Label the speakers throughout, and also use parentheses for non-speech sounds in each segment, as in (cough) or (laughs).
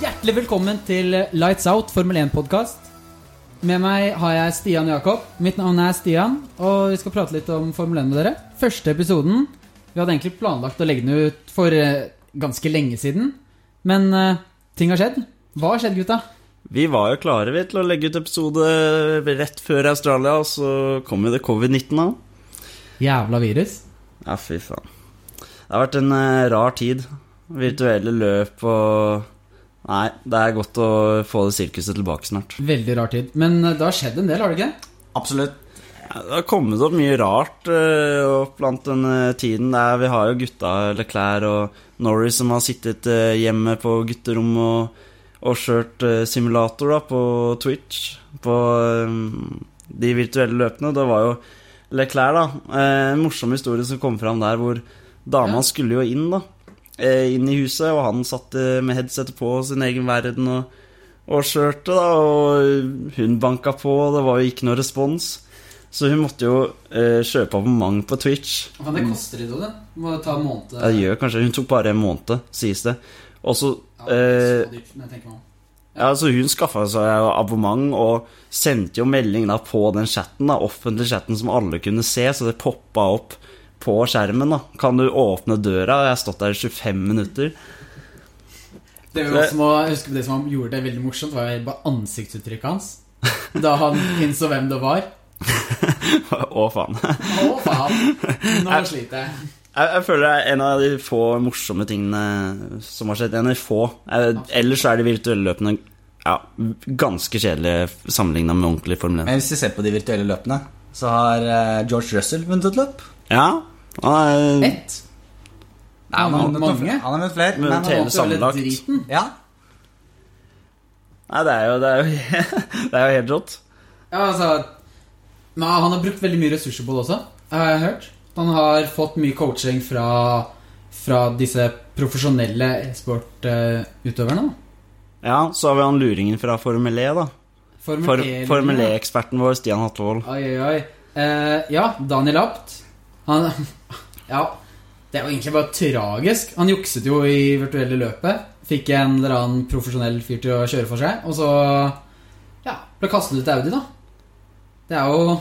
Speaker 1: Hjertelig velkommen til Lights Out Formel 1-podkast. Med meg har jeg Stian Jakob. Mitt navn er Stian, og vi skal prate litt om Formel 1 med dere. Første episoden Vi hadde egentlig planlagt å legge den ut for eh, ganske lenge siden, men eh, ting har skjedd. Hva har skjedd, gutta?
Speaker 2: Vi var jo klare vi, til å legge ut episode rett før Australia, og så kom jo det covid-19 av.
Speaker 1: Jævla virus.
Speaker 2: Ja, fy faen. Det har vært en eh, rar tid. Virtuelle løp og Nei, det er godt å få det sirkuset tilbake snart.
Speaker 1: Veldig rar tid. Men eh, det har skjedd en del, har det ikke?
Speaker 3: Absolutt.
Speaker 2: Ja, det har kommet opp mye rart eh, opp blant den eh, tiden der vi har jo gutta Leclerc og Norris som har sittet eh, hjemme på gutterom og, og kjørt eh, simulator da, på Twitch på eh, de virtuelle løpene. Det var jo Leclerc, da. Eh, En morsom historie som kom fram der hvor dama
Speaker 1: Ja.
Speaker 2: skulle jo inn, da. eh, Inn i huset, og han satt eh, med headsetet på sin egen verden og, og kjørte, da. Og hun banka på, og det var jo ikke noe respons. Så hun måtte jo eh, kjøpe abonnement på Twitch.
Speaker 1: Faen, det koster litt, det. Må ta en måned.
Speaker 2: Mm. Ja, det gjør kanskje Hun tok bare en måned, sies det. Og så eh, Ja, så hun skaffa seg jo abonnement og sendte jo melding da på den chatten, da, offentlig chatten som alle kunne se, så det poppa opp på skjermen. da Kan du åpne døra? Jeg har stått der i 25 minutter. (laughs)
Speaker 1: Det var også, må- jeg husker det som han gjorde det veldig morsomt, var jo bare ansiktsuttrykket hans. Da han innså hvem det var.
Speaker 2: Å, faen.
Speaker 1: Å, faen! Nå sliter jeg.
Speaker 2: Jeg, jeg føler det er en av de få morsomme tingene som har skjedd. En av de få. Eh, Ellers så er de virtuelle løpene ja, ganske kjedelige sammenligna med ordentlig Formel 1.
Speaker 3: Men hvis vi ser på de virtuelle løpene, så har eh, George Russell vunnet et løp.
Speaker 2: Ja, han er
Speaker 1: Ett. Nei,
Speaker 3: Han har
Speaker 1: men
Speaker 3: vunnet noen
Speaker 1: mange.
Speaker 3: fl- Han har vunnet flere.
Speaker 2: Men
Speaker 3: Men han
Speaker 2: Taylor-
Speaker 1: Vant jo
Speaker 3: har,
Speaker 1: hele
Speaker 2: sammenlagt.
Speaker 1: driten.
Speaker 3: ja,
Speaker 2: Nei, det er jo, det er jo, (laughs) det er jo helt rått.
Speaker 1: Ja, altså Men han har brukt veldig mye ressurser på det også, har jeg hørt. Han har fått mye coaching fra, fra disse profesjonelle e-sportutøverne. da.
Speaker 2: Ja, så har vi han luringen fra Formel E, da.
Speaker 1: Formel
Speaker 2: For,
Speaker 1: E-ligaen.
Speaker 2: Formel E E-eksperten vår, Stian Hatlevold.
Speaker 1: Oi, oi, oi. Eh, ja, Daniel Apt. Han (laughs) Ja. Det er jo egentlig bare tragisk. Han jukset jo i virtuelle løpet. Fikk en eller annen profesjonell fyr til å kjøre for seg, og så Ja, ble kastet ut av Audi, da. Det er jo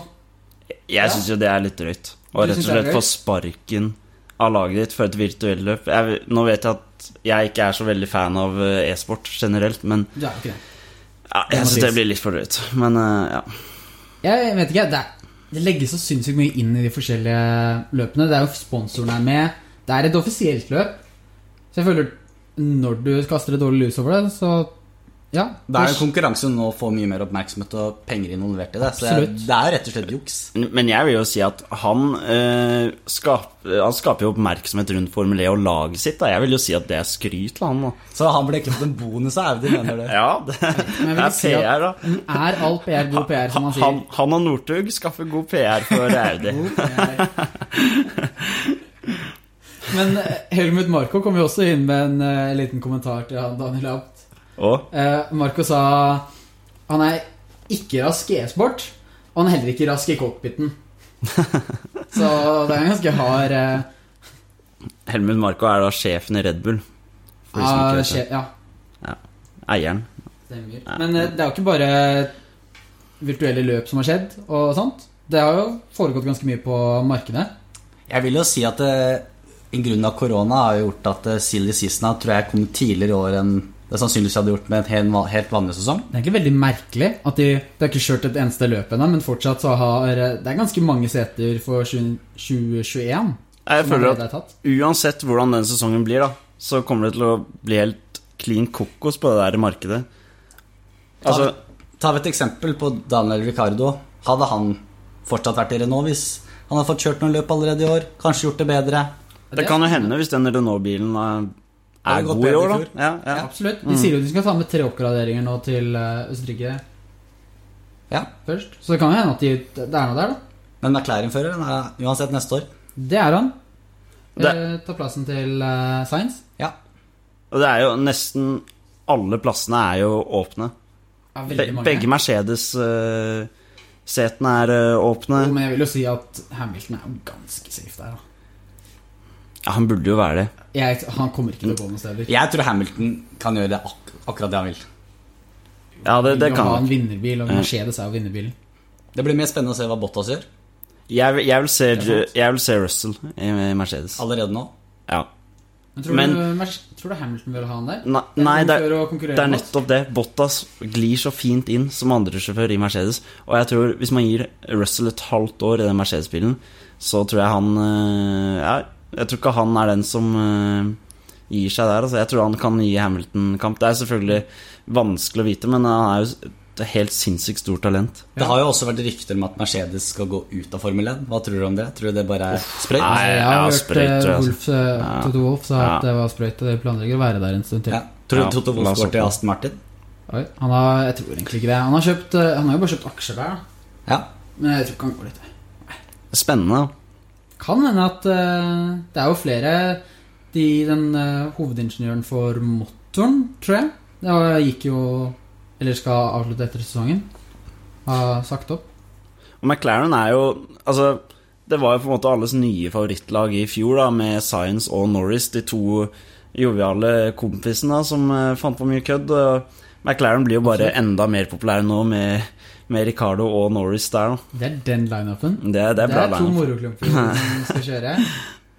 Speaker 2: Jeg syns jo det er litt drøyt. Og
Speaker 1: Du
Speaker 2: rett og
Speaker 1: synes det er
Speaker 2: slett
Speaker 1: drøyt?
Speaker 2: få sparken av laget ditt for et virtuelt løp. Jeg, nå vet jeg at jeg ikke er så veldig fan av eh, e-sport generelt, men
Speaker 1: Du er jo ikke det.
Speaker 2: ja, jeg syns det blir litt for drøyt. Men eh, ja.
Speaker 1: Jeg vet ikke, det, er, det legges så sinnssykt mye inn i de forskjellige løpene. Det er jo sponsoren er med. Det er et offisielt løp. Så jeg føler når du kaster et dårlig lys over det, så Ja.
Speaker 3: det er jo konkurranse om å få mye mer oppmerksomhet og penger involvert i det. Så jeg,
Speaker 1: Absolutt.
Speaker 3: det er jo rett og slett juks.
Speaker 2: Men jeg vil jo si at han, eh, skap, han skaper jo oppmerksomhet rundt Formel E og laget sitt. Da. Jeg vil jo si at det er skryt til han, da.
Speaker 3: Så han ble klippet en bonus av Audi, mener du?
Speaker 2: Ja, (laughs) det,
Speaker 1: Men jeg
Speaker 2: det
Speaker 1: vil
Speaker 2: er
Speaker 1: si at-
Speaker 2: PR, da.
Speaker 1: Er all PR god PR, som
Speaker 2: Han,
Speaker 1: man sier?
Speaker 2: han, han og Northug skaffer god PR for
Speaker 1: (laughs)
Speaker 2: Audi.
Speaker 1: Men eh, Helmut Marko kom jo også inn med en eh, liten kommentar til han Daniel Abt.
Speaker 2: Og
Speaker 1: Eh, Marco sa han er ikke rask i e-sport, og han er heller ikke rask i cockpiten. Så det er en ganske hard eh,
Speaker 2: Helmut Marko er da sjefen i Red Bull. For de som
Speaker 1: ah,
Speaker 2: ikke vet det.
Speaker 1: skje, Ja,
Speaker 2: Eieren.
Speaker 1: stemmer. Men eh, det er jo ikke bare virtuelle løp som har skjedd, og sånt. Det har jo foregått ganske mye på markedet.
Speaker 3: (laughs) Jeg vil jo si at eh, en grunn av korona har jo gjort at eh, Silje Sisna tror jeg kom tidligere i år enn det sannsynligvis hadde gjort med en helt, van- helt vanlig sesong.
Speaker 1: Det er egentlig veldig merkelig at de, de har ikke kjørt et eneste løp ennå, men fortsatt så har eh, Det er ganske mange seter for 20- 2021.
Speaker 2: Jeg
Speaker 1: som
Speaker 2: føler
Speaker 1: allerede
Speaker 2: at
Speaker 1: er tatt.
Speaker 2: uansett hvordan den sesongen blir, da, så kommer det til å bli helt clean kokos på det der markedet. Altså,
Speaker 3: Ta et eksempel på Daniel Ricardo. Hadde han fortsatt vært i Renault hvis han hadde fått kjørt noen løp allerede i år? Kanskje gjort det bedre?
Speaker 2: det kan jo hende hvis den Renault-bilen er,
Speaker 3: Hadde
Speaker 2: er
Speaker 3: gått
Speaker 2: god i
Speaker 3: bedre
Speaker 2: år,
Speaker 3: i
Speaker 2: da.
Speaker 3: fjor.
Speaker 2: Ja, ja.
Speaker 3: Ja.
Speaker 1: Absolutt.
Speaker 2: Mm.
Speaker 1: De sier jo de skal ta med tre oppgraderinger nå til eh, Østerrike
Speaker 3: Ja.
Speaker 1: først. Så det kan jo hende at de, det er noe der, da.
Speaker 3: Men McLaren-fører den er uansett neste år.
Speaker 1: Det er han.
Speaker 2: Det-
Speaker 1: Eh, Ta plassen til uh, Science.
Speaker 3: Ja.
Speaker 2: Og det er jo nesten alle plassene er jo åpne.
Speaker 1: Ja,
Speaker 2: Be
Speaker 1: veldig mange.
Speaker 2: begge Mercedes-setene er eh, åpne.
Speaker 1: Jo, Men jeg vil jo si at Hamilton er jo ganske safe der, da.
Speaker 2: Ja, han burde jo være det.
Speaker 1: Jeg, han kommer ikke til å gå noen steder.
Speaker 3: Jeg tror Hamilton kan gjøre det ak akkurat det han vil.
Speaker 2: Ja, det, det
Speaker 1: Vil jo
Speaker 2: kan
Speaker 1: ha en
Speaker 2: han.
Speaker 1: vinnerbil, og Mercedes er jo vinnerbilen.
Speaker 3: Det blir mer spennende å se hva Bottas gjør
Speaker 2: Jeg, vil- jeg, vil se,
Speaker 1: er sant.
Speaker 2: jeg vil se Russell i i Mercedes.
Speaker 3: allerede nå.
Speaker 2: Ja.
Speaker 1: Men tror,
Speaker 2: Men-
Speaker 1: du, Mer- tror du Hamilton vil ha han der?
Speaker 2: Nei, nei det,
Speaker 1: er, han kjører
Speaker 2: er-
Speaker 1: og
Speaker 2: det er
Speaker 1: konkurrerer mot?
Speaker 2: nettopp det. Bottas glir så fint inn som andre sjåfør i Mercedes. Og jeg tror hvis man gir Russell et halvt år i den Mercedes-bilen, så tror jeg han eh, ja, Jeg tror ikke han er den som eh, gir seg der. Altså. Jeg tror han kan gi Hamilton kamp. Det er selvfølgelig vanskelig å vite, men han er jo et helt sinnssykt stort talent.
Speaker 1: Ja.
Speaker 3: Det har jo også vært rykter om at Mercedes skal gå ut av Formel 1. Hva tror du om det? Tror du det bare er sprøyt?
Speaker 2: nei.
Speaker 1: Jeg
Speaker 2: ja,
Speaker 1: har hørt
Speaker 2: sprøyt,
Speaker 1: eh,
Speaker 2: tror jeg, altså.
Speaker 1: Wolf, eh,
Speaker 2: Ja.
Speaker 1: Toto Wolf sa
Speaker 2: Ja.
Speaker 1: at det var sprøyt, og de planlegger å være der en stund til.
Speaker 3: Ja. Tror du
Speaker 2: Ja,
Speaker 3: Toto
Speaker 2: la
Speaker 3: Wolff
Speaker 2: oss
Speaker 3: går til
Speaker 2: håpe.
Speaker 3: Aston Martin?
Speaker 1: Oi, han har, jeg tror egentlig ikke det. Han har, kjøpt, eh, han har jo bare kjøpt aksjer der, da.
Speaker 3: Ja.
Speaker 1: Men jeg tror ikke han går dit.
Speaker 2: Spennende. da.
Speaker 1: Kan hende at eh, det er jo flere de, Den eh, hovedingeniøren for motoren, tror jeg, det var- gikk jo Eller skal avslutte etter sesongen. Har sagt opp.
Speaker 2: Og McLaren er jo Altså, det var jo på en måte alles nye favorittlag i fjor, da, med Science og Norris, de to joviale kompisene da, som eh, fant på mye kødd. Og McLaren blir jo bare enda mer populær nå med, med Ricardo og Norris der, da.
Speaker 1: Det er den lineupen.
Speaker 2: Det, det er bra
Speaker 1: to
Speaker 2: lineup.
Speaker 1: moroklumper som skal kjøre.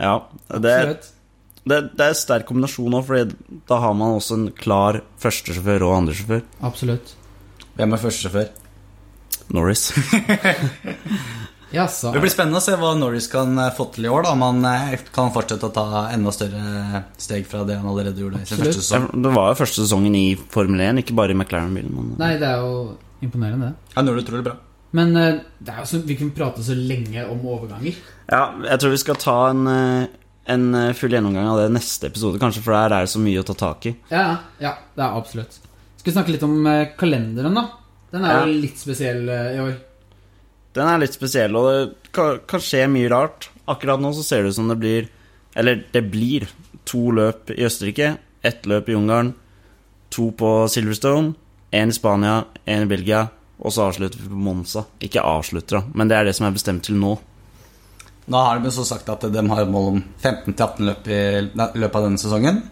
Speaker 2: Ja, (laughs) det,
Speaker 1: Absolutt.
Speaker 2: det, det er en sterk kombinasjon òg, Fordi da har man også en klar førstesjåfør og andresjåfør.
Speaker 1: Absolutt.
Speaker 3: Hvem er første sjåfør?
Speaker 2: Norris.
Speaker 1: Jaså.
Speaker 3: Det blir spennende å se hva Norris kan eh, få til i år. Da. Om han eh, kan fortsette å ta enda større steg fra det han allerede gjorde i sin
Speaker 1: Absolutt.
Speaker 3: første sesong.
Speaker 2: Det var jo første sesongen i Formel 1, ikke bare i McLaren-bilen. men-
Speaker 1: Nei, det er jo imponerende, det.
Speaker 3: Han gjorde det utrolig bra.
Speaker 1: Men eh, det er jo så, vi kunne prate så lenge om overganger.
Speaker 2: Ja, jeg tror vi skal ta en, eh, en eh, full gjennomgang av det i neste episode, kanskje, for der er det så mye å ta tak i.
Speaker 1: Ja, ja, det er absolutt. Skal vi snakke litt om eh, kalenderen, da? Den er
Speaker 2: Ja.
Speaker 1: jo litt spesiell eh, i år.
Speaker 2: Den er litt spesiell, og det kan, kan skje mye rart. Akkurat nå så ser det ut som det blir Eller det blir to løp i Østerrike, ett løp i Ungarn, to på Silverstone, én i Spania, én i Belgia, og så avslutter vi på Monza. Ikke avslutter, da, men det er det som er bestemt til nå.
Speaker 3: Nå har de så sagt at de har et mål om 15-18 løp i nei, løpet av denne sesongen.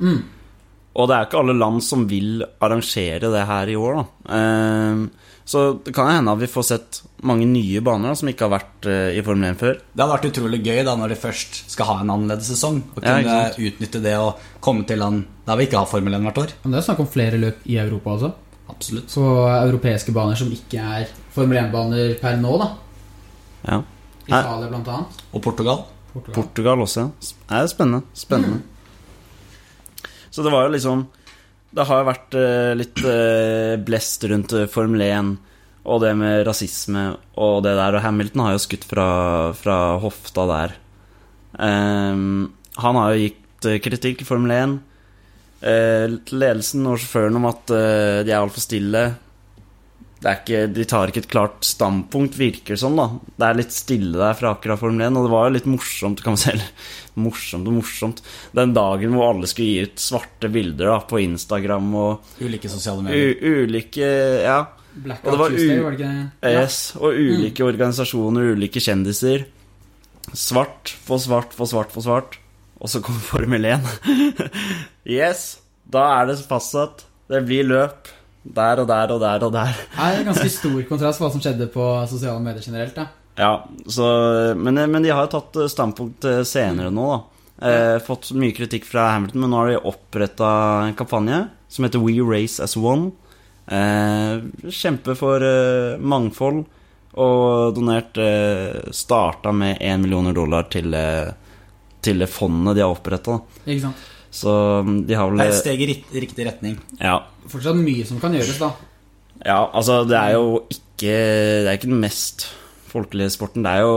Speaker 2: Og det er ikke alle land som vil arrangere det her i år, da. Ehm, Så det kan hende at vi får sett mange nye baner da, som ikke har vært eh, i Formel 1 før.
Speaker 3: Det hadde vært utrolig gøy da når de først skal ha en annerledes sesong. Å
Speaker 2: Ja,
Speaker 3: kunne
Speaker 2: ikke
Speaker 3: utnytte det og komme til land der vi ikke har Formel 1 hvert år.
Speaker 1: Men det er snakk om flere løp i Europa også.
Speaker 3: Absolutt.
Speaker 1: Så europeiske baner som ikke er Formel 1-baner per nå, da.
Speaker 2: Ja. Nei.
Speaker 1: Italia, blant annet.
Speaker 3: Og Portugal.
Speaker 1: Portugal.
Speaker 2: Portugal også. ja. Det er spennende. Spennende. Så det var jo liksom Det har jo vært eh, litt eh, blest rundt eh, Formel 1 og det med rasisme og det der, og Hamilton har jo skutt fra, fra hofta der. Ehm, han har jo gitt eh, kritikk i Formel 1. Eh, ledelsen og sjåføren om at eh, de er altfor stille. Det er ikke, de tar ikke et klart standpunkt, virker det som. da Det er litt stille der fra akkurat Formel 1, og det var jo litt morsomt, kan man si. (laughs) eller, Morsomt og morsomt. Den dagen hvor alle skulle gi ut svarte bilder da på Instagram og
Speaker 3: Ulike sosiale medier.
Speaker 2: u ulike Ja, Og
Speaker 1: Blackout
Speaker 2: det var
Speaker 1: Tuesday,
Speaker 2: u-
Speaker 1: var det ikke det? Ja.
Speaker 2: yes, og ulike organisasjoner, ulike kjendiser. Svart på svart på svart på svart. Og så kommer (laughs) Formel 1. yes, da er det fastsatt. Det blir løp der og der og der og der.
Speaker 1: Det er en ganske stor kontrast hva som skjedde på sosiale medier generelt. da
Speaker 2: Ja, så, men, men de har jo tatt eh, standpunkt eh,
Speaker 1: Mm.
Speaker 2: senere nå, da. Eh, fått mye kritikk fra Hamilton, men nå har de oppretta en kampanje som heter We Race As One. Eh, kjempe for eh, mangfold og donert eh, Starta med 1 millioner dollar til, eh, til det fondet de har oppretta.
Speaker 1: Ikke sant?
Speaker 2: Så mm, de har
Speaker 3: Det er
Speaker 2: vel
Speaker 3: et steg i rikt- riktig retning.
Speaker 2: Ja,
Speaker 1: Fortsatt mye som kan gjøres, da.
Speaker 2: Ja, altså det er jo ikke Det er ikke den mest folkelige sporten. Det er jo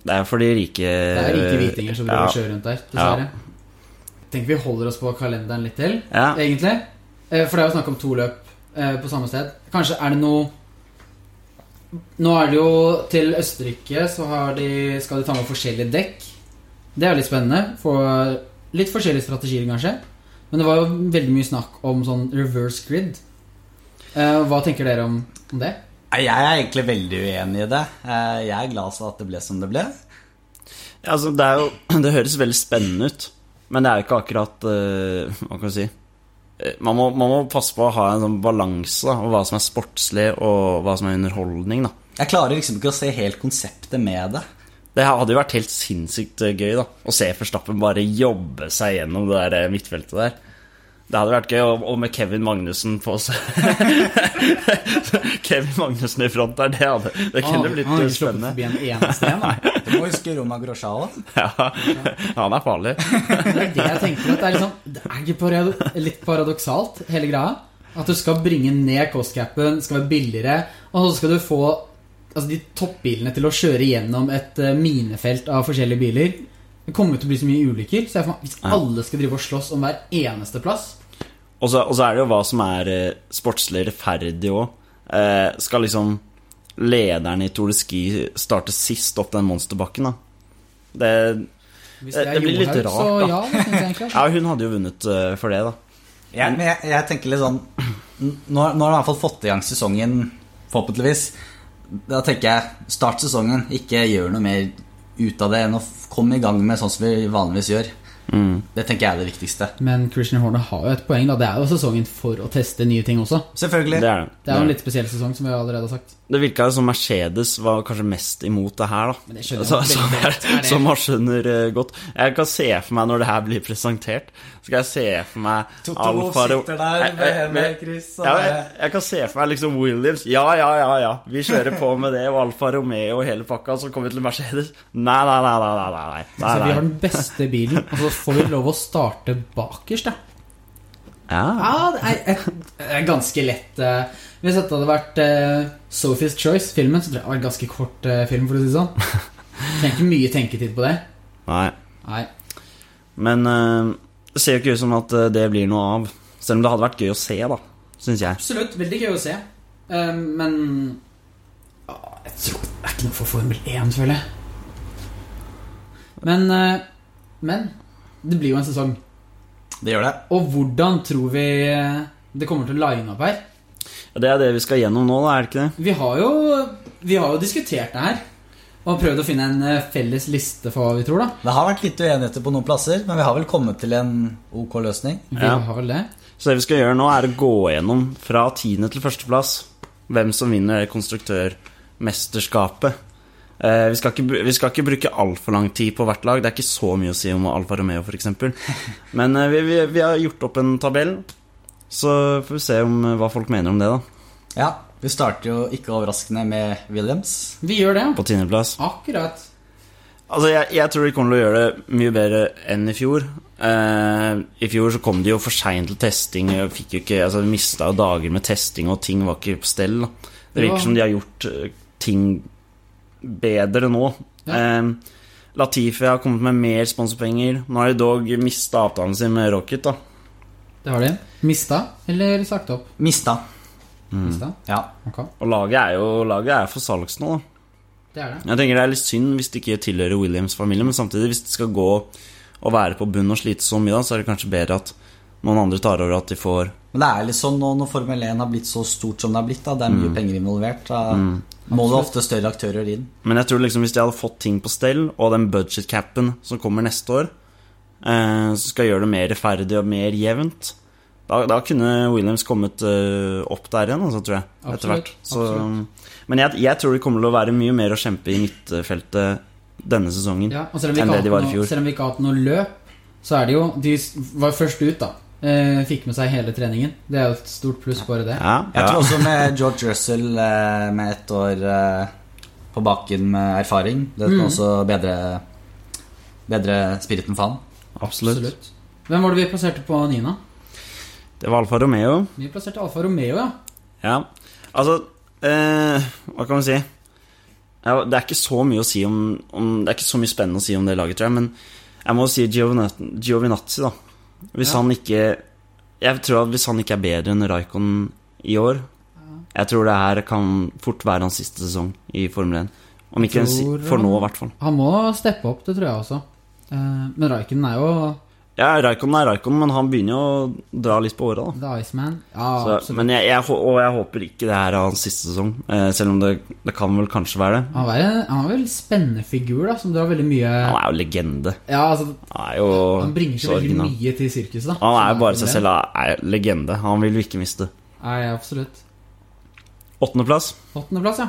Speaker 2: Det er for de rike
Speaker 1: Det er rike hvitinger som driver og
Speaker 2: ja.
Speaker 1: kjører rundt der, dessverre. Tenk vi holder oss på kalenderen litt til,
Speaker 2: Ja.
Speaker 1: egentlig. Eh, For det er jo snakk om to løp eh, på samme sted. Kanskje er det noe Nå er det jo til Østerrike så har de, skal de ta med forskjellige dekk. Det er jo litt spennende. For litt forskjellige strategier, kanskje. Men det var jo veldig mye snakk om sånn reverse grid. Eh, Hva tenker dere om, om det?
Speaker 3: Nei, Jeg er egentlig veldig uenig i det. Eh, Jeg er glad for at det ble som det ble.
Speaker 2: Altså, det, er jo, (clears throat) det høres veldig spennende ut, men det er jo ikke akkurat eh, Hva kan vi si Eh, man må, man må passe på å ha en sånn balanse da, og hva som er sportslig, og hva som er underholdning. da
Speaker 3: Jeg klarer liksom ikke å se helt konseptet med det.
Speaker 2: Det hadde jo vært helt sinnssykt eh, gøy da å se Verstappen bare jobbe seg gjennom det der eh, midtfeltet der. Det hadde vært gøy, og- og med Kevin Magnussen på seg (laughs) Kevin Magnussen i front der, det, hadde, det kunne blitt
Speaker 1: Ah, han har ikke sluppet
Speaker 2: spennende.
Speaker 1: forbi en eneste
Speaker 2: (laughs)
Speaker 1: en. da.
Speaker 3: Du må huske Roma Grosjao.
Speaker 2: Ja, (laughs) han er farlig.
Speaker 1: Det er det jeg tenker at det er, liksom, det er ikke parado- litt paradoksalt, hele greia. At du skal bringe ned kostcapen, skal være billigere, og så skal du få altså, de toppbilene til å kjøre gjennom et eh, minefelt av forskjellige biler. Det kommer til å bli så mye ulykker. Så jeg, får- hvis
Speaker 2: Ja.
Speaker 1: alle skal drive og slåss om hver eneste plass
Speaker 2: Og så, og så er det jo hva som er eh, sportslig rettferdig òg. Eh, skal liksom lederen i Tour de Ski starte sist opp den monsterbakken, da? Det,
Speaker 1: Hvis
Speaker 2: Eh, Det- det blir litt
Speaker 1: Johaug,
Speaker 2: rart, da.
Speaker 1: Så ja, det synes jeg egentlig.
Speaker 2: (laughs) ja, hun hadde jo vunnet eh, for det, da.
Speaker 3: Jeg, men jeg, jeg tenker litt sånn n- Nå nå har du i hvert fall fått i gang sesongen, forhåpentligvis. Da tenker jeg start sesongen, ikke gjør noe mer ut av det enn å f- komme i gang med sånn som vi vanligvis gjør. Det tenker jeg er det viktigste.
Speaker 1: Men Christian Horner har jo et poeng. da Det er jo sesongen for å teste nye ting også.
Speaker 2: Det
Speaker 3: Selvfølgelig.
Speaker 2: er det.
Speaker 1: Det er jo en litt spesiell sesong, som vi allerede har sagt.
Speaker 2: Det virka som Mercedes var kanskje mest imot det her, da.
Speaker 1: Men det skjønner jeg
Speaker 2: så,
Speaker 1: veldig
Speaker 2: så,
Speaker 1: godt. Det er det.
Speaker 2: Som man skjønner eh, godt. Jeg kan se for meg når det her blir presentert Så Skal jeg se for meg Alfa Ro- Jeg- jeg- jeg- Eh, ja, jeg, jeg kan se for meg liksom Williams. Ja, ja, ja, ja. Vi kjører på med det, og Alfa Romeo og hele pakka. Så kommer vi til Mercedes. Nei, nei, nei. nei, nei, nei, nei,
Speaker 1: Så Altså, vi har
Speaker 2: nei.
Speaker 1: den beste bilen, og så får vi lov å starte bakerst, da.
Speaker 2: Ja.
Speaker 1: Ja, det er, et- det er ganske lett. eh. Hvis dette hadde vært eh, Sophie's Choice-filmen, så tror jeg det hadde vært en ganske kort eh, film, for å si det
Speaker 2: (laughs)
Speaker 1: sånn. Trenger ikke mye tenketid på det.
Speaker 2: Nei.
Speaker 1: Nei.
Speaker 2: Men eh, det ser jo ikke ut som at eh, det blir noe av. Selv om det hadde vært gøy å se, da. Syns jeg.
Speaker 1: Absolutt. Veldig gøy å se. Eh, Men ah, Jeg tror det er ikke noe for Formel 1, føler jeg. Men eh, Men det blir jo en sesong.
Speaker 3: Det gjør det.
Speaker 1: Og hvordan tror vi eh, det kommer til å line opp her?
Speaker 2: Det er det vi skal gjennom nå, da, er det ikke det?
Speaker 1: Vi har jo, vi har jo diskutert det her. Og prøvd å finne en eh, felles liste for hva vi tror, da.
Speaker 3: Det har vært litt uenigheter på noen plasser, men vi har vel kommet til en ok løsning.
Speaker 1: Vi
Speaker 2: Ja.
Speaker 1: har vel det.
Speaker 2: Så det vi skal gjøre nå er å gå gjennom fra tiende til førsteplass hvem som vinner konstruktørmesterskapet. Eh, vi, skal ikke, bru- vi skal ikke bruke altfor lang tid på hvert lag. Det er ikke så mye å si om Alfa Romeo f.eks. Men eh, vi, vi, vi har gjort opp en tabell, så får vi se om, eh, hva folk mener om det. da
Speaker 3: Ja, Vi starter jo ikke overraskende med Williams.
Speaker 1: Vi gjør det, ja.
Speaker 2: På tiendeplass.
Speaker 1: Akkurat.
Speaker 2: Altså, jeg, jeg tror de kommer til å gjøre det mye bedre enn i fjor. Eh, I fjor så kom de jo for seint til testing. og Fikk jo ikke, altså, de mista jo dager med testing, og ting var ikke på stell. da. Det virker
Speaker 1: Ja.
Speaker 2: som de har gjort eh, ting bedre nå.
Speaker 1: Ja.
Speaker 2: Eh, Latifi har kommet med mer sponsorpenger. Nå har de dog mista avtalen sin med Rocket. da
Speaker 1: Det har de. Mista eller sagt opp?
Speaker 3: Mista.
Speaker 2: Mm.
Speaker 1: Mista.
Speaker 3: Ja.
Speaker 1: Ok,
Speaker 2: Og laget er jo laget er for salgs nå. da
Speaker 1: det er det.
Speaker 2: Jeg tenker det er litt synd hvis det ikke tilhører Williams-familien, men samtidig, hvis det skal gå og være på bunn og slite så mye, da, så er det kanskje bedre at noen andre tar over at de får
Speaker 3: Men det er litt sånn nå når Formel 1 har blitt så stort som det har blitt, da, det er mye penger involvert, da må det ofte større aktører inn.
Speaker 2: Men jeg tror liksom hvis de hadde fått ting på stell, og den budget-capen som kommer neste år, eh, så skal gjøre det mer rettferdig og mer jevnt, da, da kunne Williams kommet eh, opp der igjen, altså, tror jeg. Etter
Speaker 1: Absolutt,
Speaker 2: hvert. Så, men jeg, jeg tror det kommer til å være mye mer å kjempe i midtfeltet denne sesongen.
Speaker 1: Ja, og selv om, vi
Speaker 2: Enn
Speaker 1: ikke
Speaker 2: det de
Speaker 1: har
Speaker 2: var i
Speaker 1: hatt noe,
Speaker 2: fjor.
Speaker 1: selv om vi ikke har hatt noe løp, så er det jo De s- var først ut, da. Eh, fikk med seg hele treningen. Det er jo et stort pluss, bare det.
Speaker 2: Ja,
Speaker 3: Jeg
Speaker 2: ja.
Speaker 3: tror også med George Russell eh, med ett år eh, på baken med erfaring, det kan
Speaker 1: Mm.
Speaker 3: også bedre, bedre spiriten for han.
Speaker 2: absolutt.
Speaker 1: Hvem var det vi plasserte på Nina?
Speaker 2: Det var Alfa Romeo.
Speaker 1: Vi plasserte Alfa Romeo, ja.
Speaker 2: Ja, altså eh, Hva kan vi si? Ja, det er ikke så mye å si om, om Det er ikke så mye spennende å si om det laget, tror jeg, men jeg må si Giovinazzi, Giovinazzi da. Hvis
Speaker 1: Ja.
Speaker 2: han ikke Jeg tror at hvis han ikke er bedre enn Raikon i år Jeg tror det her kan fort være hans siste sesong i Formel 1. Om ikke en si-
Speaker 1: Tror
Speaker 2: for nå,
Speaker 1: han-
Speaker 2: i hvert fall.
Speaker 1: Han må steppe opp, det tror jeg også. Eh, Men Raiken er jo
Speaker 2: Ja, Raikon er Raikon, men han begynner jo å dra litt på åra, da.
Speaker 1: The Iceman. Ja,
Speaker 2: Så,
Speaker 1: absolutt.
Speaker 2: men jeg, jeg, hå- og jeg håper ikke det her er hans siste sesong, eh, selv om det, det kan vel kanskje være det.
Speaker 1: Han er, en, han er en spennende figur da, som drar veldig mye
Speaker 2: Han er jo legende.
Speaker 1: Ja, altså,
Speaker 2: Han er jo
Speaker 1: han bringer så veldig
Speaker 2: original.
Speaker 1: mye til sirkuset. da
Speaker 2: Han er jo
Speaker 1: Så
Speaker 2: bare seg
Speaker 1: det-
Speaker 2: selv. Han er legende. Han vil vi ikke miste.
Speaker 1: Nei, absolutt.
Speaker 2: Åttendeplass.
Speaker 1: Åttendeplass, ja.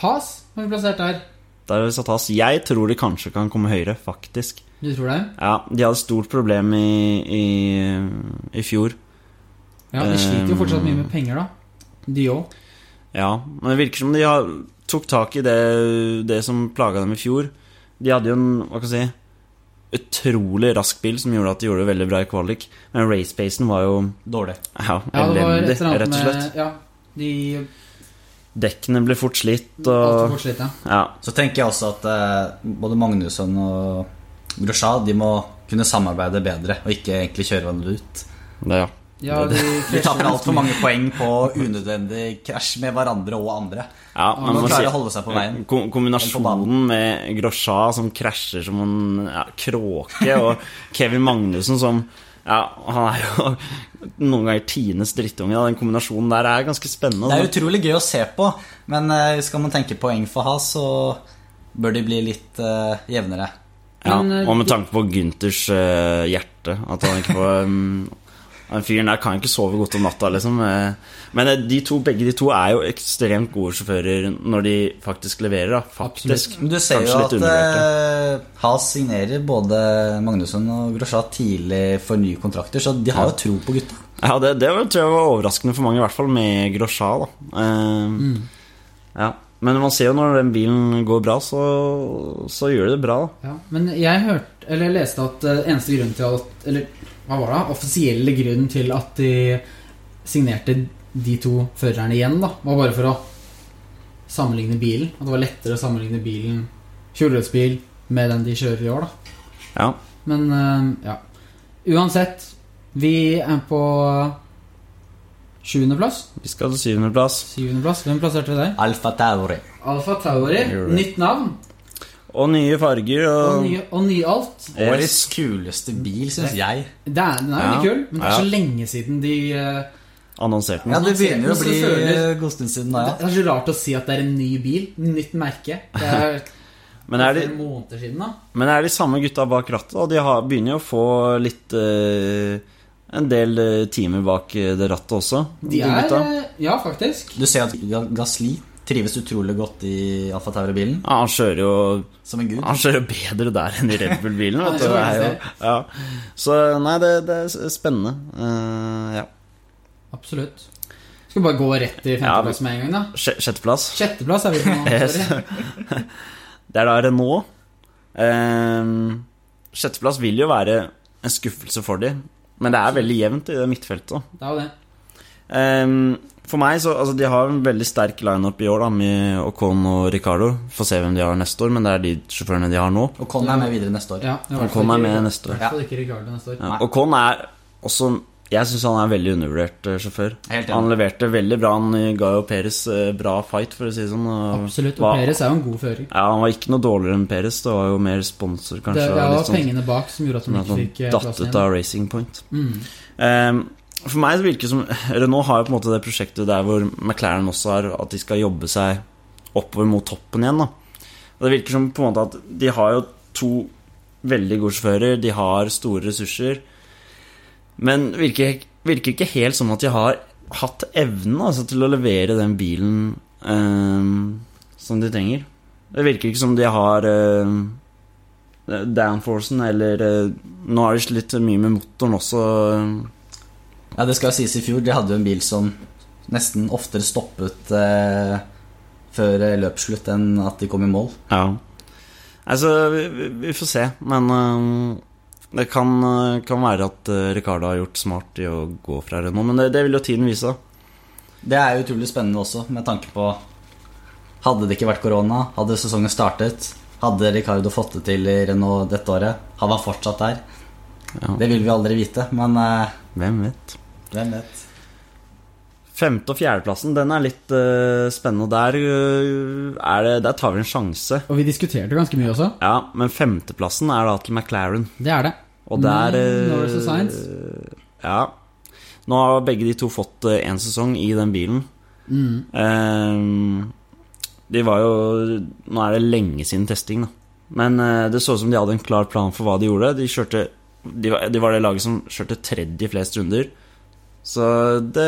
Speaker 1: Has har vi plassert der.
Speaker 2: Der er det satt has. Jeg tror de kanskje kan komme høyere, faktisk.
Speaker 1: Du tror det?
Speaker 2: Ja, de hadde stort problem i, i, i fjor.
Speaker 1: Ja, De sliter jo
Speaker 2: Um,
Speaker 1: fortsatt mye med penger, da. De òg.
Speaker 2: Ja, men det virker som de har, tok tak i det, det som plaga dem i fjor. De hadde jo en hva skal jeg si, utrolig rask bil som gjorde at de gjorde det veldig bra i kvalik. Men racepacen var jo
Speaker 3: Dårlig.
Speaker 2: ja,
Speaker 1: Ja, det var
Speaker 2: elendig,
Speaker 1: et eller
Speaker 2: rett
Speaker 1: annet
Speaker 2: og slett.
Speaker 1: med Ja, de
Speaker 2: Dekkene ble fort slitt
Speaker 1: Altfor
Speaker 2: og
Speaker 1: fort slitt, ja.
Speaker 2: ja,
Speaker 3: Så tenker jeg også at eh, både Magnusson og Grosjean De må kunne samarbeide bedre og ikke egentlig kjøre hverandre ut.
Speaker 2: det, ja.
Speaker 1: ja de
Speaker 2: (laughs)
Speaker 3: De taper
Speaker 1: krasjer
Speaker 3: altfor mange poeng på unødvendig krasj med hverandre og andre.
Speaker 2: ja
Speaker 3: Man
Speaker 2: man
Speaker 3: må
Speaker 2: må
Speaker 3: klare å
Speaker 2: si
Speaker 3: holde seg på veien.
Speaker 2: Ko-
Speaker 3: Eller på
Speaker 2: Kombinasjonen med Grosja som krasjer som en ja, kråke,
Speaker 3: (laughs)
Speaker 2: og Kevin Magnussen som ja, Han er jo noen ganger Tines drittunge. da. Den kombinasjonen der er ganske spennende.
Speaker 3: Det
Speaker 2: altså.
Speaker 3: er utrolig gøy å se på, men eh, skal man tenke poeng for Has, så bør de bli litt eh, jevnere.
Speaker 2: Ja,
Speaker 1: Men, eh,
Speaker 2: og med tanke på Günthers eh, hjerte At han ikke får um, Den fyren der kan ikke sove godt om natta liksom. eh. Men eh, de to, begge de to er jo ekstremt gode sjåfører Når de faktisk leverer da. Faktisk
Speaker 3: Men du ser
Speaker 2: Kanskje
Speaker 3: jo
Speaker 2: litt
Speaker 3: at
Speaker 2: undervurderte.
Speaker 3: eh, Haas signerer både Magnusson og Grosjean tidlig for nye kontrakter, så de har jo tro på gutta.
Speaker 2: Ja, det, det var, tror jeg var overraskende for mange I hvert fall med Grosja da. Eh,
Speaker 1: Mm.
Speaker 2: ja. Men man ser jo når den bilen går bra Så, så gjør de det bra da.
Speaker 1: Ja, men jeg hørte, eller leste at eh, eneste grunn til at Eller hva var det? Offisielle grunn til at de signerte de to førerne igjen, da, var bare for å sammenligne bilen. At det var lettere å sammenligne bilen, tjulrødsbil, med den de kjører i år, da.
Speaker 2: Ja
Speaker 1: Men eh, ja. Uansett, vi er på sjuendeplass.
Speaker 2: Vi skal til syvende plass
Speaker 1: Syvendeplass. Hvem plasserte vi der?
Speaker 3: Alfa Tauri.
Speaker 1: Alfa Tauri.
Speaker 2: Gjorde det.
Speaker 1: Nytt navn.
Speaker 2: Og nye farger
Speaker 1: Og
Speaker 2: og,
Speaker 1: ny, og ny alt.
Speaker 2: Yes.
Speaker 3: Årets kuleste bil, syns jeg.
Speaker 1: Det er, den er
Speaker 2: Ja.
Speaker 1: veldig kul, men det er
Speaker 2: Ja.
Speaker 1: så lenge siden de eh,
Speaker 2: Annonserte den
Speaker 3: Ja, det begynner jo å bli
Speaker 1: Annonsert, men så føler-
Speaker 3: god stund siden da,
Speaker 1: Det
Speaker 3: ja.
Speaker 1: det er så rart å si at det er en ny bil. Nytt merke. Det er,
Speaker 2: (laughs) Men er det,
Speaker 1: flere måneder siden, da.
Speaker 2: Men det er de samme gutta bak rattet, og de har, begynner jo å få litt eh, En del eh, timer bak eh, det rattet også.
Speaker 1: De er eh, Ja, faktisk.
Speaker 3: Du ser at Ga- Gasli trives utrolig godt i Alfa Tauri-bilen,
Speaker 2: Ja, han kjører jo
Speaker 3: som en gud.
Speaker 2: Han kjører jo bedre der enn i Red (laughs) Bull-bilen. vet du. Det er jo- ja. Så nei, det, det er spennende. Eh, ja.
Speaker 1: Absolutt. Skal vi bare gå rett til femteplass med en gang, da?
Speaker 2: Sj- Sjetteplass.
Speaker 1: Sjetteplass er vi på nå.
Speaker 2: (laughs) Yes.
Speaker 1: sorry.
Speaker 2: Det er da Renault. Eh, sjetteplass vil jo være en skuffelse for dem, men det er veldig jevnt i det midtfeltet. da.
Speaker 1: Det er jo det.
Speaker 2: Ehm, for meg så, altså De har en veldig sterk lineup i år, da med Ocon og Ricardo. Får se hvem de har neste år, men det er de sjåførene de har nå.
Speaker 3: Og Con er med videre neste år.
Speaker 1: Ja, det er i hvert fall
Speaker 2: Ocon er
Speaker 1: ikke-
Speaker 2: med neste
Speaker 1: i
Speaker 2: år.
Speaker 1: hvert fall ikke Ricardo neste år.
Speaker 2: Ja. Ocon er også Jeg syns han er en veldig undervurdert eh, sjåfør.
Speaker 3: Helt enig.
Speaker 2: Han leverte veldig bra. Han ga jo Peres eh, bra fight, for å si det sånn. og
Speaker 1: Absolutt. Og
Speaker 2: var-
Speaker 1: Perez er jo en god fører.
Speaker 2: Ja, Han var ikke noe dårligere enn Peres. Det var jo mer sponsor, kanskje.
Speaker 1: Det det
Speaker 2: og
Speaker 1: var
Speaker 2: litt sånn-
Speaker 1: pengene bak som gjorde at han
Speaker 2: Men at
Speaker 1: ikke
Speaker 2: han
Speaker 1: fikk eh,
Speaker 2: datt
Speaker 1: plassen
Speaker 2: ut
Speaker 1: igjen.
Speaker 2: av Racing Point.
Speaker 1: Mm.
Speaker 2: Ehm, for meg så virker det som Renault har jo på en måte det prosjektet der hvor McLaren også har at de skal jobbe seg oppover mot toppen igjen. Da. Og det virker som på en måte at de har jo to veldig gode sjåfører, de har store ressurser, men virker, virker ikke helt som at de har hatt evnen altså, til å levere den bilen ehm, som de trenger. Det virker ikke som de har ehm, downforcen, eller eh, Nå har de slitt mye med motoren også.
Speaker 3: Ja, det skal jo sies i fjor. De hadde jo en bil som nesten oftere stoppet eh, før eh, løpsslutt enn at de kom i mål.
Speaker 2: Ja. Altså, vi, vi- vi får se, men eh, det kan, eh, kan være at eh, Ricardo har gjort smart i å gå fra Renault, men det, det vil jo tiden vise.
Speaker 3: Det er jo utrolig spennende også, med tanke på Hadde det ikke vært korona, hadde sesongen startet, hadde Ricardo fått det til i Renault dette året, hadde han fortsatt der?
Speaker 2: Ja.
Speaker 3: Det vil vi aldri vite, men eh,
Speaker 2: Hvem vet?
Speaker 3: hvem vet?
Speaker 2: Femte- og fjerdeplassen, den er litt eh, spennende. Der, eh, er det, der tar vi en sjanse.
Speaker 1: Og vi diskuterte ganske mye også.
Speaker 2: Ja, men femteplassen er da til McLaren.
Speaker 1: Det Mm, er det.
Speaker 2: Og der
Speaker 1: Nei, Norris og
Speaker 2: eh,
Speaker 1: Sainz.
Speaker 2: Ja. Nå har begge de to fått én sesong i den bilen.
Speaker 1: Mm.
Speaker 2: Ehm, de var jo Nå er det lenge siden testing, da. Men eh, det så ut som de hadde en klar plan for hva de gjorde. De, kjørte, de, var, de var det laget som kjørte tredje flest runder. Så det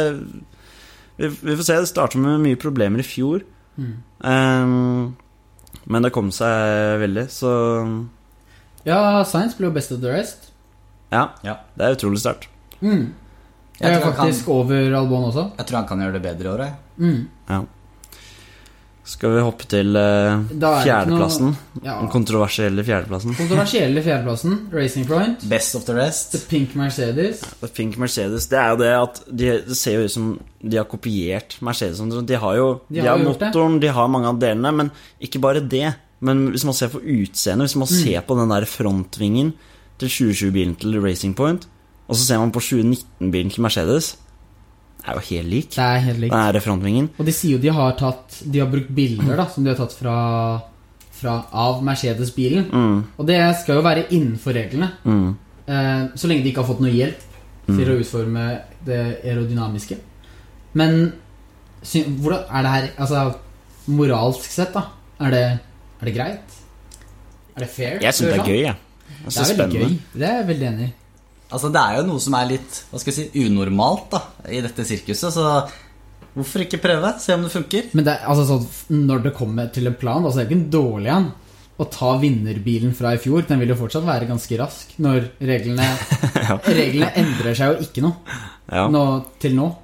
Speaker 2: Vi, vi får se. Det startet med mye problemer i fjor.
Speaker 1: Mm.
Speaker 2: Ehm, men det kom seg veldig, så
Speaker 1: Ja, Science ble jo best of the rest.
Speaker 2: ja.
Speaker 3: Ja.
Speaker 2: Det er utrolig sterkt.
Speaker 1: Mm.
Speaker 3: Jeg
Speaker 1: Jeg er
Speaker 3: tror han kan-
Speaker 1: faktisk over Albon også.
Speaker 3: Jeg tror han kan gjøre det bedre i år. jeg.
Speaker 1: Mm.
Speaker 2: Skal vi hoppe til eh,
Speaker 1: Da er det ikke noe-
Speaker 2: fjerdeplassen?
Speaker 1: Ja.
Speaker 2: Den kontroversielle fjerdeplassen.
Speaker 1: Kontroversielle fjerdeplassen, Racing Point.
Speaker 3: Best of the rest.
Speaker 1: The Pink Mercedes.
Speaker 2: Pink Mercedes, det er jo det at de, Det ser jo ut som de har kopiert Mercedes. sånn, De har jo
Speaker 1: De
Speaker 2: de
Speaker 1: har
Speaker 2: har
Speaker 1: jo gjort det.
Speaker 2: motoren, de har mange av delene, men ikke bare det. Men hvis man ser på utseendet, hvis man
Speaker 1: Mm.
Speaker 2: ser på den der frontvingen til 2020-bilen til Racing Point, og så ser man på 2019-bilen til Mercedes, det er jo helt lik.
Speaker 1: Det er helt
Speaker 2: Den
Speaker 1: likt.
Speaker 2: her frontvingen.
Speaker 1: Og de sier jo de har tatt De har brukt bilder da som de har tatt fra, fra av Mercedes-bilen.
Speaker 2: Mm,
Speaker 1: Og det skal jo være innenfor reglene.
Speaker 2: mm.
Speaker 1: Eh, så lenge de ikke har fått noe hjelp til å utforme det aerodynamiske. Men sy hvordan er det her Altså moralsk sett, da? Er det, er det greit? Er det fair?
Speaker 2: Jeg syns det er
Speaker 1: Sånn?
Speaker 2: gøy, jeg. Jeg
Speaker 1: Det
Speaker 2: synes
Speaker 1: er veldig
Speaker 2: spennende.
Speaker 1: gøy. Det er jeg veldig enig i.
Speaker 3: Altså, det er jo noe som er litt hva skal jeg si, unormalt da, i dette sirkuset, så hvorfor ikke prøve? Se om det funker.
Speaker 1: Men det, er- altså, sånn, f- når det kommer til en plan, da, så er det ikke en dårlig en å ta vinnerbilen fra i fjor. Den vil jo fortsatt være ganske rask når
Speaker 2: (laughs)
Speaker 1: reglene, reglene endrer seg jo ikke noe
Speaker 2: Ja.
Speaker 1: nå, til nå.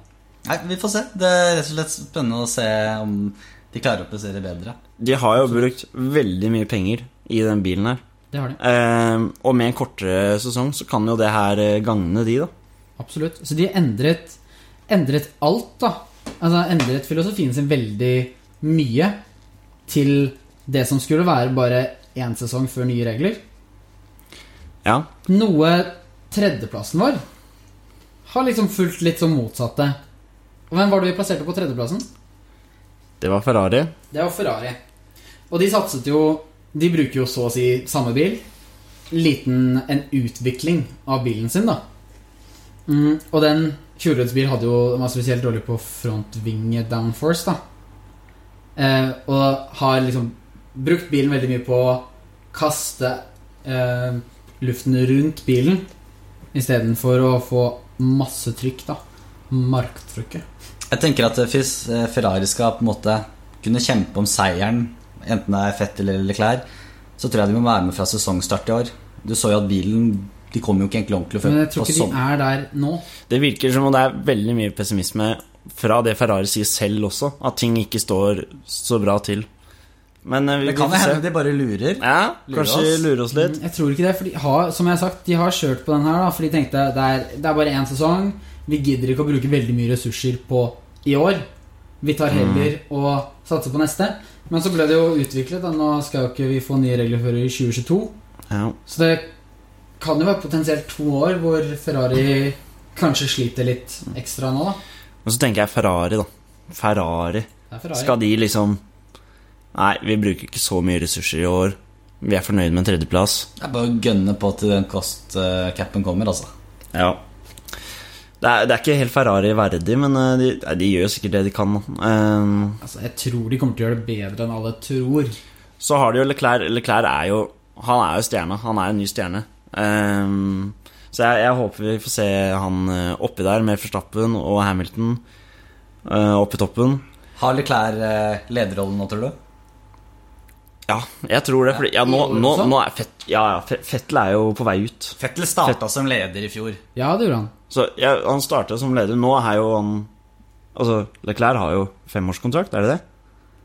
Speaker 3: Nei, Vi får se. Det er rett og slett spennende å se om de klarer å prestere bedre.
Speaker 2: De har jo brukt veldig mye penger i den bilen her.
Speaker 1: Det har de.
Speaker 2: Eh, og med en kortere sesong så kan jo det her eh, gagne de, da.
Speaker 1: Absolutt. Så de endret, endret alt, da. Altså endret filosofien sin veldig mye til det som skulle være bare én sesong før nye regler.
Speaker 2: Ja.
Speaker 1: Noe tredjeplassen vår har liksom fulgt litt som motsatte. Og Hvem var det vi plasserte på tredjeplassen?
Speaker 2: Det var Ferrari.
Speaker 1: Det var Ferrari. Og de satset jo De bruker jo så å si samme bil. Liten en utvikling av bilen sin, da. Mm, og den Fjordreds bil hadde jo den var spesielt dårlig på frontvinge downforce, da. Eh, og har liksom brukt bilen veldig mye på å kaste eh, luften rundt bilen istedenfor å få masse trykk, da. Marktrykket.
Speaker 3: Jeg tenker at hvis eh, Ferrari skal på en måte kunne kjempe om seieren, enten det er fett eller Leclerc, så tror jeg de må være med fra sesongstart i år. Du så jo at bilen De kom jo ikke egentlig ordentlig
Speaker 1: Men jeg
Speaker 3: før
Speaker 1: tror
Speaker 3: på
Speaker 1: ikke
Speaker 3: sommeren.
Speaker 1: de er der nå.
Speaker 2: Det virker som om det er veldig mye pessimisme fra det Ferrari sier selv også, at ting ikke står så bra til. Men eh, vi,
Speaker 3: Det kan
Speaker 2: vi
Speaker 3: jo
Speaker 2: får
Speaker 3: hende
Speaker 2: se.
Speaker 3: de bare lurer.
Speaker 2: Ja,
Speaker 3: Lurer
Speaker 2: kanskje
Speaker 3: oss.
Speaker 2: lure oss litt.
Speaker 1: Mm, Jeg tror ikke det, for de har, som jeg har sagt, de har kjørt på den her, da, for de tenkte det er, det er bare én sesong. Vi gidder ikke å bruke veldig mye ressurser på i år. Vi
Speaker 2: Mm.
Speaker 1: tar heller og satser på neste. Men så ble det jo utviklet, da. Nå skal jo ikke vi få nye regler før i 2022.
Speaker 2: Ja.
Speaker 1: Så det kan jo være potensielt to år hvor Ferrari kanskje sliter litt ekstra nå, da.
Speaker 2: Og så tenker jeg Ferrari, da. Ferrari.
Speaker 1: Det er Ferrari.
Speaker 2: Skal de liksom Nei, vi bruker ikke så mye ressurser i år. Vi er fornøyd med en tredjeplass.
Speaker 3: Det er bare å gønne på til den kostcapen kommer, altså.
Speaker 2: Ja. Det er, det er ikke helt Ferrari verdig, men eh, de, nei, de gjør sikkert det de kan. da. Ehm,
Speaker 1: Altså, jeg tror de kommer til å gjøre det bedre enn alle tror.
Speaker 2: så har de jo Leclerc. Leclerc er jo Han er jo stjerne. Han er en ny stjerne. Ehm, så jeg, jeg håper vi får se han eh, oppi der med Verstappen og Hamilton eh, oppe i toppen.
Speaker 3: Har Leclerc eh, lederrollen nå, tror du?
Speaker 2: Ja, jeg tror det, fordi ja, nå, nå, nå er Fett, ja, ja, Fe- Fettel er jo på vei ut.
Speaker 3: Fettel starta som leder i fjor.
Speaker 1: Ja, det gjorde han.
Speaker 2: Så ja, han starta som leder. Nå er jo han Altså, Leclerc har jo femårskontrakt, er det det?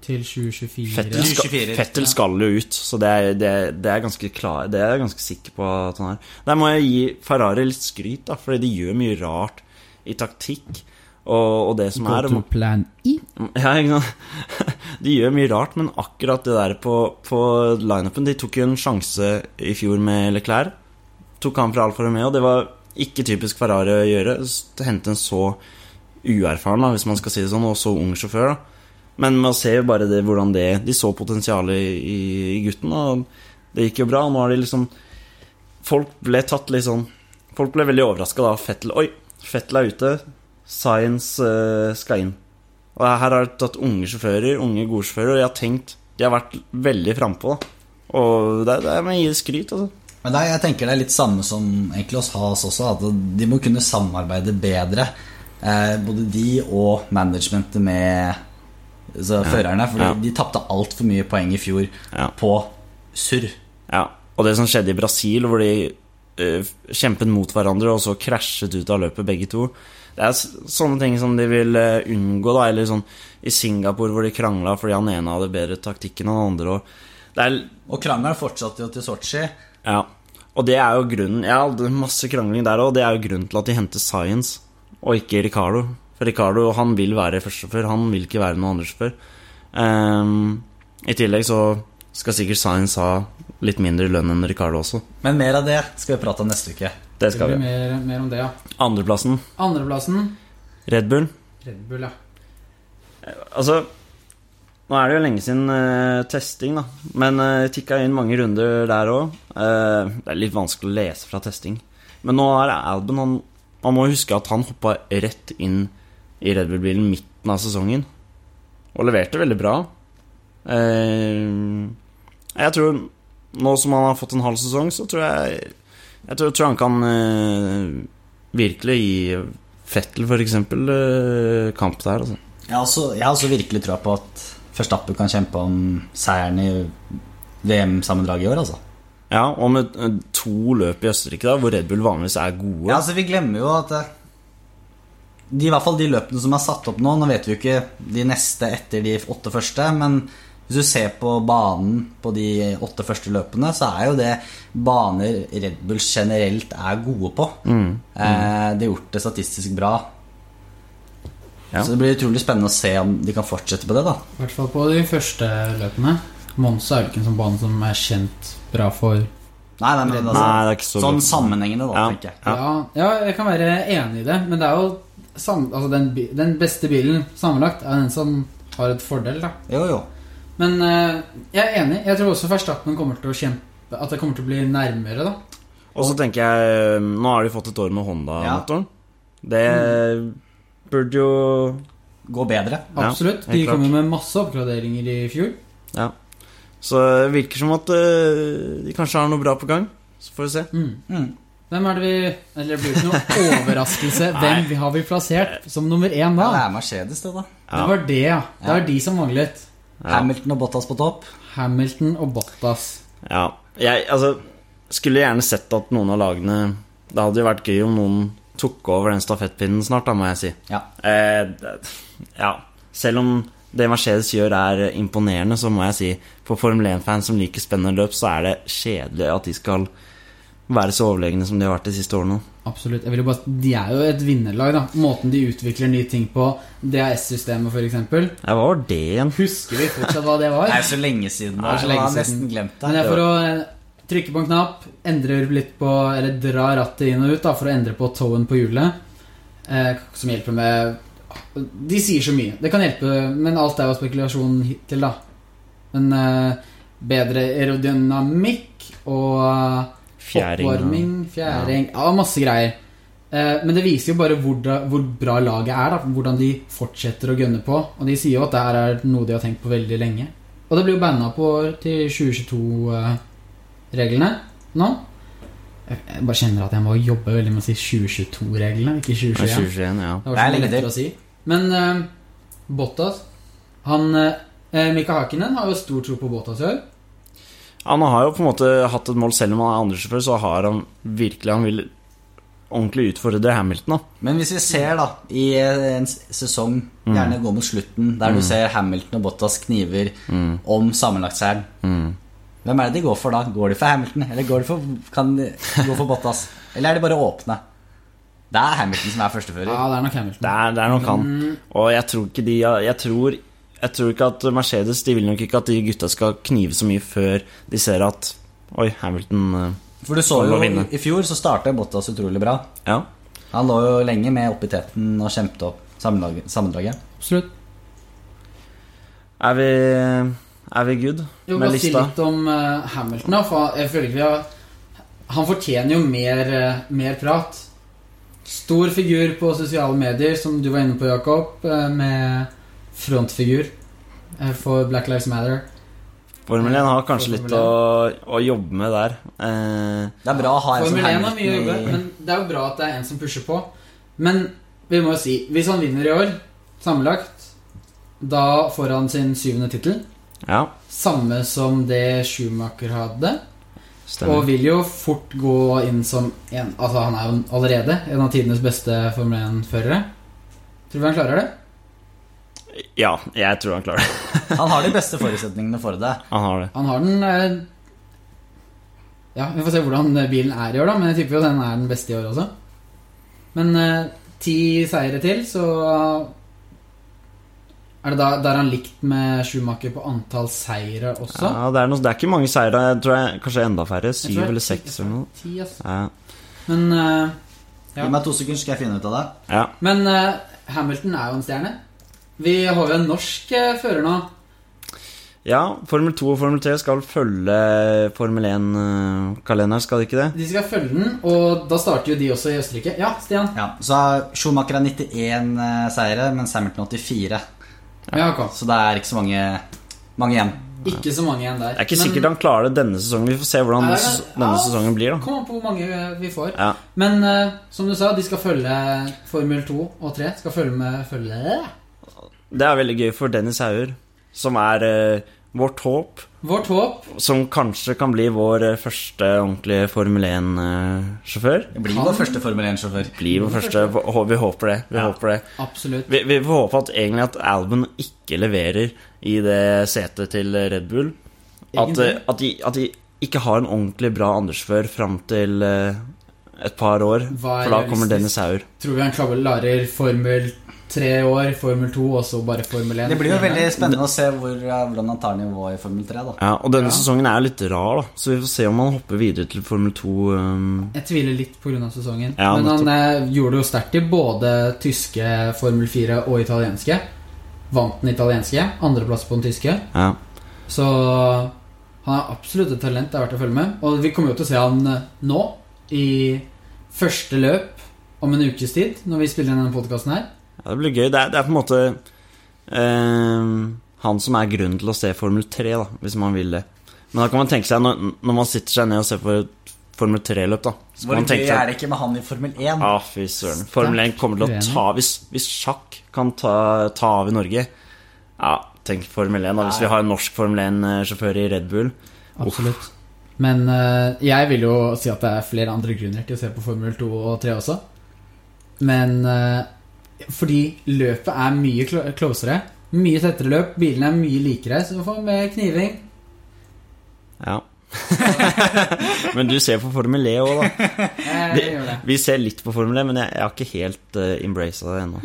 Speaker 1: Til 2024.
Speaker 2: Fettel
Speaker 3: Ja.
Speaker 2: skal,
Speaker 3: 24.
Speaker 2: Fettel skal jo ut, så det er, det, det er ganske klar, Det er jeg ganske sikker på at han er. Der må jeg gi Ferrari litt skryt, da, fordi de gjør mye rart i taktikk og, og det som
Speaker 1: Go
Speaker 2: er.
Speaker 1: to plan E.
Speaker 2: Ja, ikke sant? (laughs) De gjør mye rart, men akkurat det der på, på lineupen De tok jo en sjanse i fjor med Leclerc. Tok han fra Alfa Romeo. Det var ikke typisk Ferrari å gjøre. s- Hente en så uerfaren, da, hvis man skal si det sånn, og så ung sjåfør. da Men man ser jo bare det, hvordan det De så potensialet i, i gutten, og det gikk jo bra. og Nå har de liksom folk ble tatt litt sånn Folk ble veldig overraska da Fettel Oi, Fettel er ute. Science eh, skal inn. Og her har de tatt unge sjåfører, unge gode sjåfører, og jeg har tenkt De har vært veldig frampå, da. Og det, det må jeg gi skryt, altså.
Speaker 3: Men nei, jeg tenker det er litt samme som egentlig oss Haas også, at de må kunne samarbeide bedre. Eh, både de og managementet med altså, førerne. For
Speaker 2: ja.
Speaker 3: de tapte altfor mye poeng i fjor
Speaker 2: Ja.
Speaker 3: på surr.
Speaker 2: Ja, og det som skjedde i Brasil, hvor de eh, kjempet mot hverandre og så krasjet ut av løpet begge to. Det er s- sånne ting som de vil eh, unngå, da. Eller sånn i Singapore hvor de krangla fordi han ene hadde bedre taktikk enn han andre. Og det er,
Speaker 3: Og krangelen fortsatte jo til Sotsji.
Speaker 2: ja. og det er jo grunnen Jeg hadde masse krangling der òg, og det er jo grunnen til at de henter Science og ikke Ricardo. For Ricardo han vil være førstesjåfør, han vil ikke være noen andre sjåfør. Ehm, I tillegg så skal sikkert Science ha litt mindre lønn enn Ricardo også.
Speaker 3: Men mer av det skal vi prate om neste uke.
Speaker 2: Det
Speaker 1: Det
Speaker 2: skal
Speaker 1: blir
Speaker 2: vi.
Speaker 1: mer, mer om det, ja.
Speaker 2: Andreplassen,
Speaker 1: Andreplassen
Speaker 2: Red Bull.
Speaker 1: Red Bull, ja.
Speaker 2: Altså, nå er det jo lenge siden eh, testing, da. Men uh, tikka inn mange runder der òg. det er litt vanskelig å lese fra testing. Men nå er det Albon han, Man må huske at han hoppa rett inn i Red Bull-bilen midten av sesongen. Og leverte veldig bra. Eh, jeg tror Nå som han har fått en halv sesong, så tror jeg Jeg tror, tror han kan eh, virkelig gi Fettel, for eksempel, eh, kamp der, altså.
Speaker 3: Jeg har også, jeg har også virkelig trua på at Verstappen kan kjempe om seieren i VM-sammendraget i år, altså.
Speaker 2: Ja, og med eh, to løp i Østerrike, da, hvor Red Bull vanligvis er gode.
Speaker 3: Ja, altså Vi glemmer jo at eh, de, I hvert fall de løpene som er satt opp nå Nå vet vi jo ikke de neste etter de åtte første, men hvis du ser på banen på de åtte første løpene, så er jo det baner Red Bull generelt er gode på.
Speaker 2: Mm,
Speaker 3: Eh, de har gjort det statistisk bra.
Speaker 2: Ja.
Speaker 3: Så det blir utrolig spennende å se om de kan fortsette på det. da
Speaker 1: I hvert fall på de første løpene. Monza er jo ikke en sånn bane som er kjent bra for
Speaker 3: Nei, nei, men altså,
Speaker 2: Nei, det er ikke så
Speaker 3: Sånn
Speaker 2: godt.
Speaker 3: sammenhengende, da,
Speaker 2: Ja.
Speaker 3: tenker jeg.
Speaker 1: ja. ja, jeg kan være enig i det, men det er jo sam, altså den, bi- den beste bilen sammenlagt er den som har et fordel, da.
Speaker 3: Jo, jo.
Speaker 1: Men eh, jeg er enig. Jeg tror også Verstappen kommer til å kjempe At det kommer til å bli nærmere, da.
Speaker 2: Og så tenker jeg eh, Nå har de fått et år med Honda-motoren. Det
Speaker 3: Mm.
Speaker 2: burde jo
Speaker 3: Gå bedre.
Speaker 2: Ja,
Speaker 1: Absolutt.
Speaker 2: helt
Speaker 1: De
Speaker 2: klart.
Speaker 1: kom jo med masse oppgraderinger i fjor.
Speaker 2: Ja. Så det virker som at eh, de kanskje har noe bra på gang. Så får vi se.
Speaker 1: Mm.
Speaker 3: Mm.
Speaker 1: Hvem er det vi Eller det blir ikke noe overraskelse. Hvem vi har vi plassert som nummer én
Speaker 3: Ja,
Speaker 1: da?
Speaker 3: det er Mercedes, det, da.
Speaker 1: Det var det, ja. Det var de som manglet.
Speaker 2: Ja.
Speaker 3: Hamilton og Bottas på topp.
Speaker 1: Hamilton og Bottas.
Speaker 2: Ja. Jeg altså, skulle gjerne sett at noen av lagene Det hadde jo vært gøy om noen tok over den stafettpinnen snart, da, må jeg si.
Speaker 3: Ja.
Speaker 2: Eh, det- ja. Selv om det Mercedes gjør er imponerende, så må jeg si for Formel 1-fans som liker spennende løp, så er det kjedelig at de skal være så overlegne som de har vært de siste årene.
Speaker 1: Absolutt. Jeg vil jo bare, de er jo et vinnerlag. da Måten de utvikler nye ting på, DAS-systemet f.eks.
Speaker 2: Ja, hva var det igjen?
Speaker 1: Husker vi fortsatt hva det var?
Speaker 3: Det er så lenge siden.
Speaker 1: Det er så lenge
Speaker 3: Jeg har
Speaker 1: siden.
Speaker 3: nesten glemt
Speaker 1: Men det
Speaker 3: det.
Speaker 1: er for å eh, trykke på en knapp, endre litt på Eller dra rattet inn og ut da, for å endre på tåen på hjulet. Eh, som hjelper med De sier så mye. Det kan hjelpe, men alt er jo spekulasjon hittil, da. Men eh, bedre aerodynamikk og eh,
Speaker 2: Fjæring,
Speaker 1: oppvarming, fjæring ja. masse greier. Eh, men det viser jo bare hvor, da, hvor bra laget er. Da, hvordan de fortsetter å gønne på. Og de sier jo at det her er noe de har tenkt på veldig lenge. Og det blir jo banna på til 2022-reglene nå. Jeg jeg bare kjenner at jeg må jobbe veldig med å si 2022-reglene, ikke
Speaker 2: Ja,
Speaker 1: 2021.
Speaker 2: 2021, ja.
Speaker 1: Det var så
Speaker 3: Det er
Speaker 1: mye
Speaker 3: lenge
Speaker 1: lettere
Speaker 3: til.
Speaker 1: å si. Men eh, Bottas Han eh, Mika Hakinen har jo stor tro på Bottas i år.
Speaker 2: Han har jo på en måte hatt et mål, selv om han er andresjåfør, så har han virkelig Han vil ordentlig utfordre Hamilton, da.
Speaker 3: Men hvis vi ser da i en s- sesong,
Speaker 2: Mm.
Speaker 3: gjerne gå mot slutten, der du ser Hamilton og Bottas kniver
Speaker 2: Mm.
Speaker 3: om sammenlagtseieren, hvem er det de går for da? Går de for Hamilton, eller går de for, kan de gå for Bottas? Eller er de bare åpne? Det er Hamilton som er førstefører.
Speaker 1: Ja, det er nok Hamilton.
Speaker 2: Det er, det er nok
Speaker 1: Mm.
Speaker 2: han. Og jeg tror ikke de jeg tror, jeg tror ikke at Mercedes De vil nok ikke at de gutta skal knive så mye før de ser at Oi, Hamilton eh,
Speaker 3: For du så
Speaker 2: Han må
Speaker 3: jo
Speaker 2: vinne.
Speaker 3: i fjor så startet Bottas utrolig bra.
Speaker 2: Ja.
Speaker 3: Han lå jo lenge med opp i teten og kjempet opp sammenlag- sammendraget.
Speaker 1: Absolutt.
Speaker 2: Er vi, er vi good
Speaker 1: Jo,
Speaker 2: med
Speaker 1: bare si
Speaker 2: lista?
Speaker 1: litt om eh, Hamilton, da. For jeg føler ikke vi har Han fortjener jo mer, eh, mer prat. Stor figur på sosiale medier, som du var inne på, Jakob, eh, med frontfigur eh, for Black Lives Matter.
Speaker 2: Formel 1 har kanskje
Speaker 1: Formel
Speaker 2: litt å, å jobbe med der. Eh,
Speaker 3: Det er bra å ha en som
Speaker 1: Formel 1 har
Speaker 3: henger
Speaker 1: mye å jobbe, men det er jo bra at det er en som pusher på. Men vi må jo si, hvis han vinner i år, sammenlagt, da får han sin syvende tittel.
Speaker 2: ja,
Speaker 1: Samme som det Schumacher hadde. Og
Speaker 2: stemmer.
Speaker 1: vil jo fort gå inn som en Altså, han er jo allerede en av tidenes beste Formel 1-førere. Tror du han klarer det?
Speaker 2: Ja, jeg tror han klarer det.
Speaker 3: Han har de beste forutsetningene for det.
Speaker 2: Han har det.
Speaker 1: Han har den eh, Ja, vi får se hvordan bilen er i år, da, men jeg tipper jo den er den beste i år også. Men eh, ti seire til, så Er det da der han likt med Schumacher på antall seire også?
Speaker 2: Ja, det, er noe, det er ikke mange seire. Jeg tror jeg, kanskje enda færre.
Speaker 1: Jeg
Speaker 2: Syv
Speaker 1: tror det er
Speaker 2: eller
Speaker 1: ti-
Speaker 2: seks eller noe.
Speaker 1: Ti, ass.
Speaker 2: Ja,
Speaker 1: Men eh, Ja.
Speaker 3: Gi meg to sekunder, skal jeg finne ut av det.
Speaker 2: ja.
Speaker 1: Men eh, Hamilton er jo en stjerne. Vi har jo en norsk eh, fører nå.
Speaker 2: ja, Formel 2 og Formel 3 skal følge Formel 1-kalenderen, skal de ikke det?
Speaker 1: De skal følge den, og da starter jo de også i Østerrike. Ja, Stian.
Speaker 3: Ja, så Schumacher har 91 eh, seire, mens Hamilton 84.
Speaker 1: Ja, Jakob.
Speaker 3: Så det er ikke så mange, mange igjen.
Speaker 1: Ikke så mange igjen der.
Speaker 2: Det er ikke sikkert han klarer det denne sesongen. Vi får se hvordan
Speaker 1: Nei, det er-
Speaker 2: ses- denne
Speaker 1: ja.
Speaker 2: sesongen blir, da.
Speaker 1: Kom an på hvor mange eh, vi får.
Speaker 2: Ja.
Speaker 1: Men eh, som du sa, de skal følge Formel 2 og 3. Skal følge med følge
Speaker 2: Det er veldig gøy for Dennis Hauger, som er eh, vårt håp.
Speaker 1: Vårt håp
Speaker 2: Som kanskje kan bli vår eh, første ordentlige Formel 1-sjåfør.
Speaker 3: Det blir
Speaker 1: Han-
Speaker 3: vår første Formel 1-sjåfør.
Speaker 2: Blir vår første. hå- Vi håper det. Vi
Speaker 3: Ja.
Speaker 2: håper det.
Speaker 1: Absolutt.
Speaker 2: Vi, vi får håpe at egentlig at Albon ikke leverer i det setet til Red Bull. At,
Speaker 1: Egentlig.
Speaker 2: eh, at, de, at de ikke har en ordentlig bra andresfør fram til eh, et par år.
Speaker 1: Hva er
Speaker 2: For da kommer
Speaker 1: realistisk?
Speaker 2: Dennis Hauger.
Speaker 1: Tror vi han klarer Formel 3 i år, Formel 2 og så bare Formel 1?
Speaker 3: Det blir jo veldig spennende å se hvor, hvordan han tar nivået i Formel 3. da
Speaker 2: Ja, og denne
Speaker 1: Ja.
Speaker 2: sesongen er litt rar, da. Så vi får se om han hopper videre til Formel 2. ehm,
Speaker 1: Jeg tviler litt pga. sesongen.
Speaker 2: Ja,
Speaker 1: men han eh, gjorde det jo sterkt i både tyske Formel 4 og italienske. Vant den italienske. Andreplass på den tyske.
Speaker 2: ja.
Speaker 1: Så han er absolutt et talent. Det er verdt å følge med. Og vi kommer jo til å se han eh, nå, i første løp om en ukes tid, når vi spiller inn denne podkasten her.
Speaker 2: ja, det blir gøy. Det er, det er på en måte ehm, han som er grunnen til å se Formel 3, da, hvis man vil det. Men da kan man tenke seg, når, når man sitter seg ned og ser på et Formel 3-løp, da så kan
Speaker 3: Hvor
Speaker 2: man tenke
Speaker 3: gøy
Speaker 2: seg
Speaker 3: er det ikke med han i Formel 1?
Speaker 2: Ja, fy søren. Formel 1 kommer til å
Speaker 1: Uenig.
Speaker 2: ta Hvis, hvis sjakk kan ta, ta av i Norge Ja, tenk Formel 1, da. Hvis vi har en norsk Formel 1-sjåfør i Red Bull.
Speaker 1: Absolutt. Men eh, jeg vil jo si at det er flere andre grunner til å se på Formel 2 og 3 også. Men eh, fordi løpet er mye clo- closere. Mye tettere løp, bilene er mye likere, så du får mer kniving.
Speaker 2: Ja. (laughs) men du ser på Formel E òg, da.
Speaker 1: Eh,
Speaker 2: Det-
Speaker 1: det gjør det.
Speaker 2: Vi ser litt på Formel E, men jeg, jeg har ikke helt uh, embracet det ennå.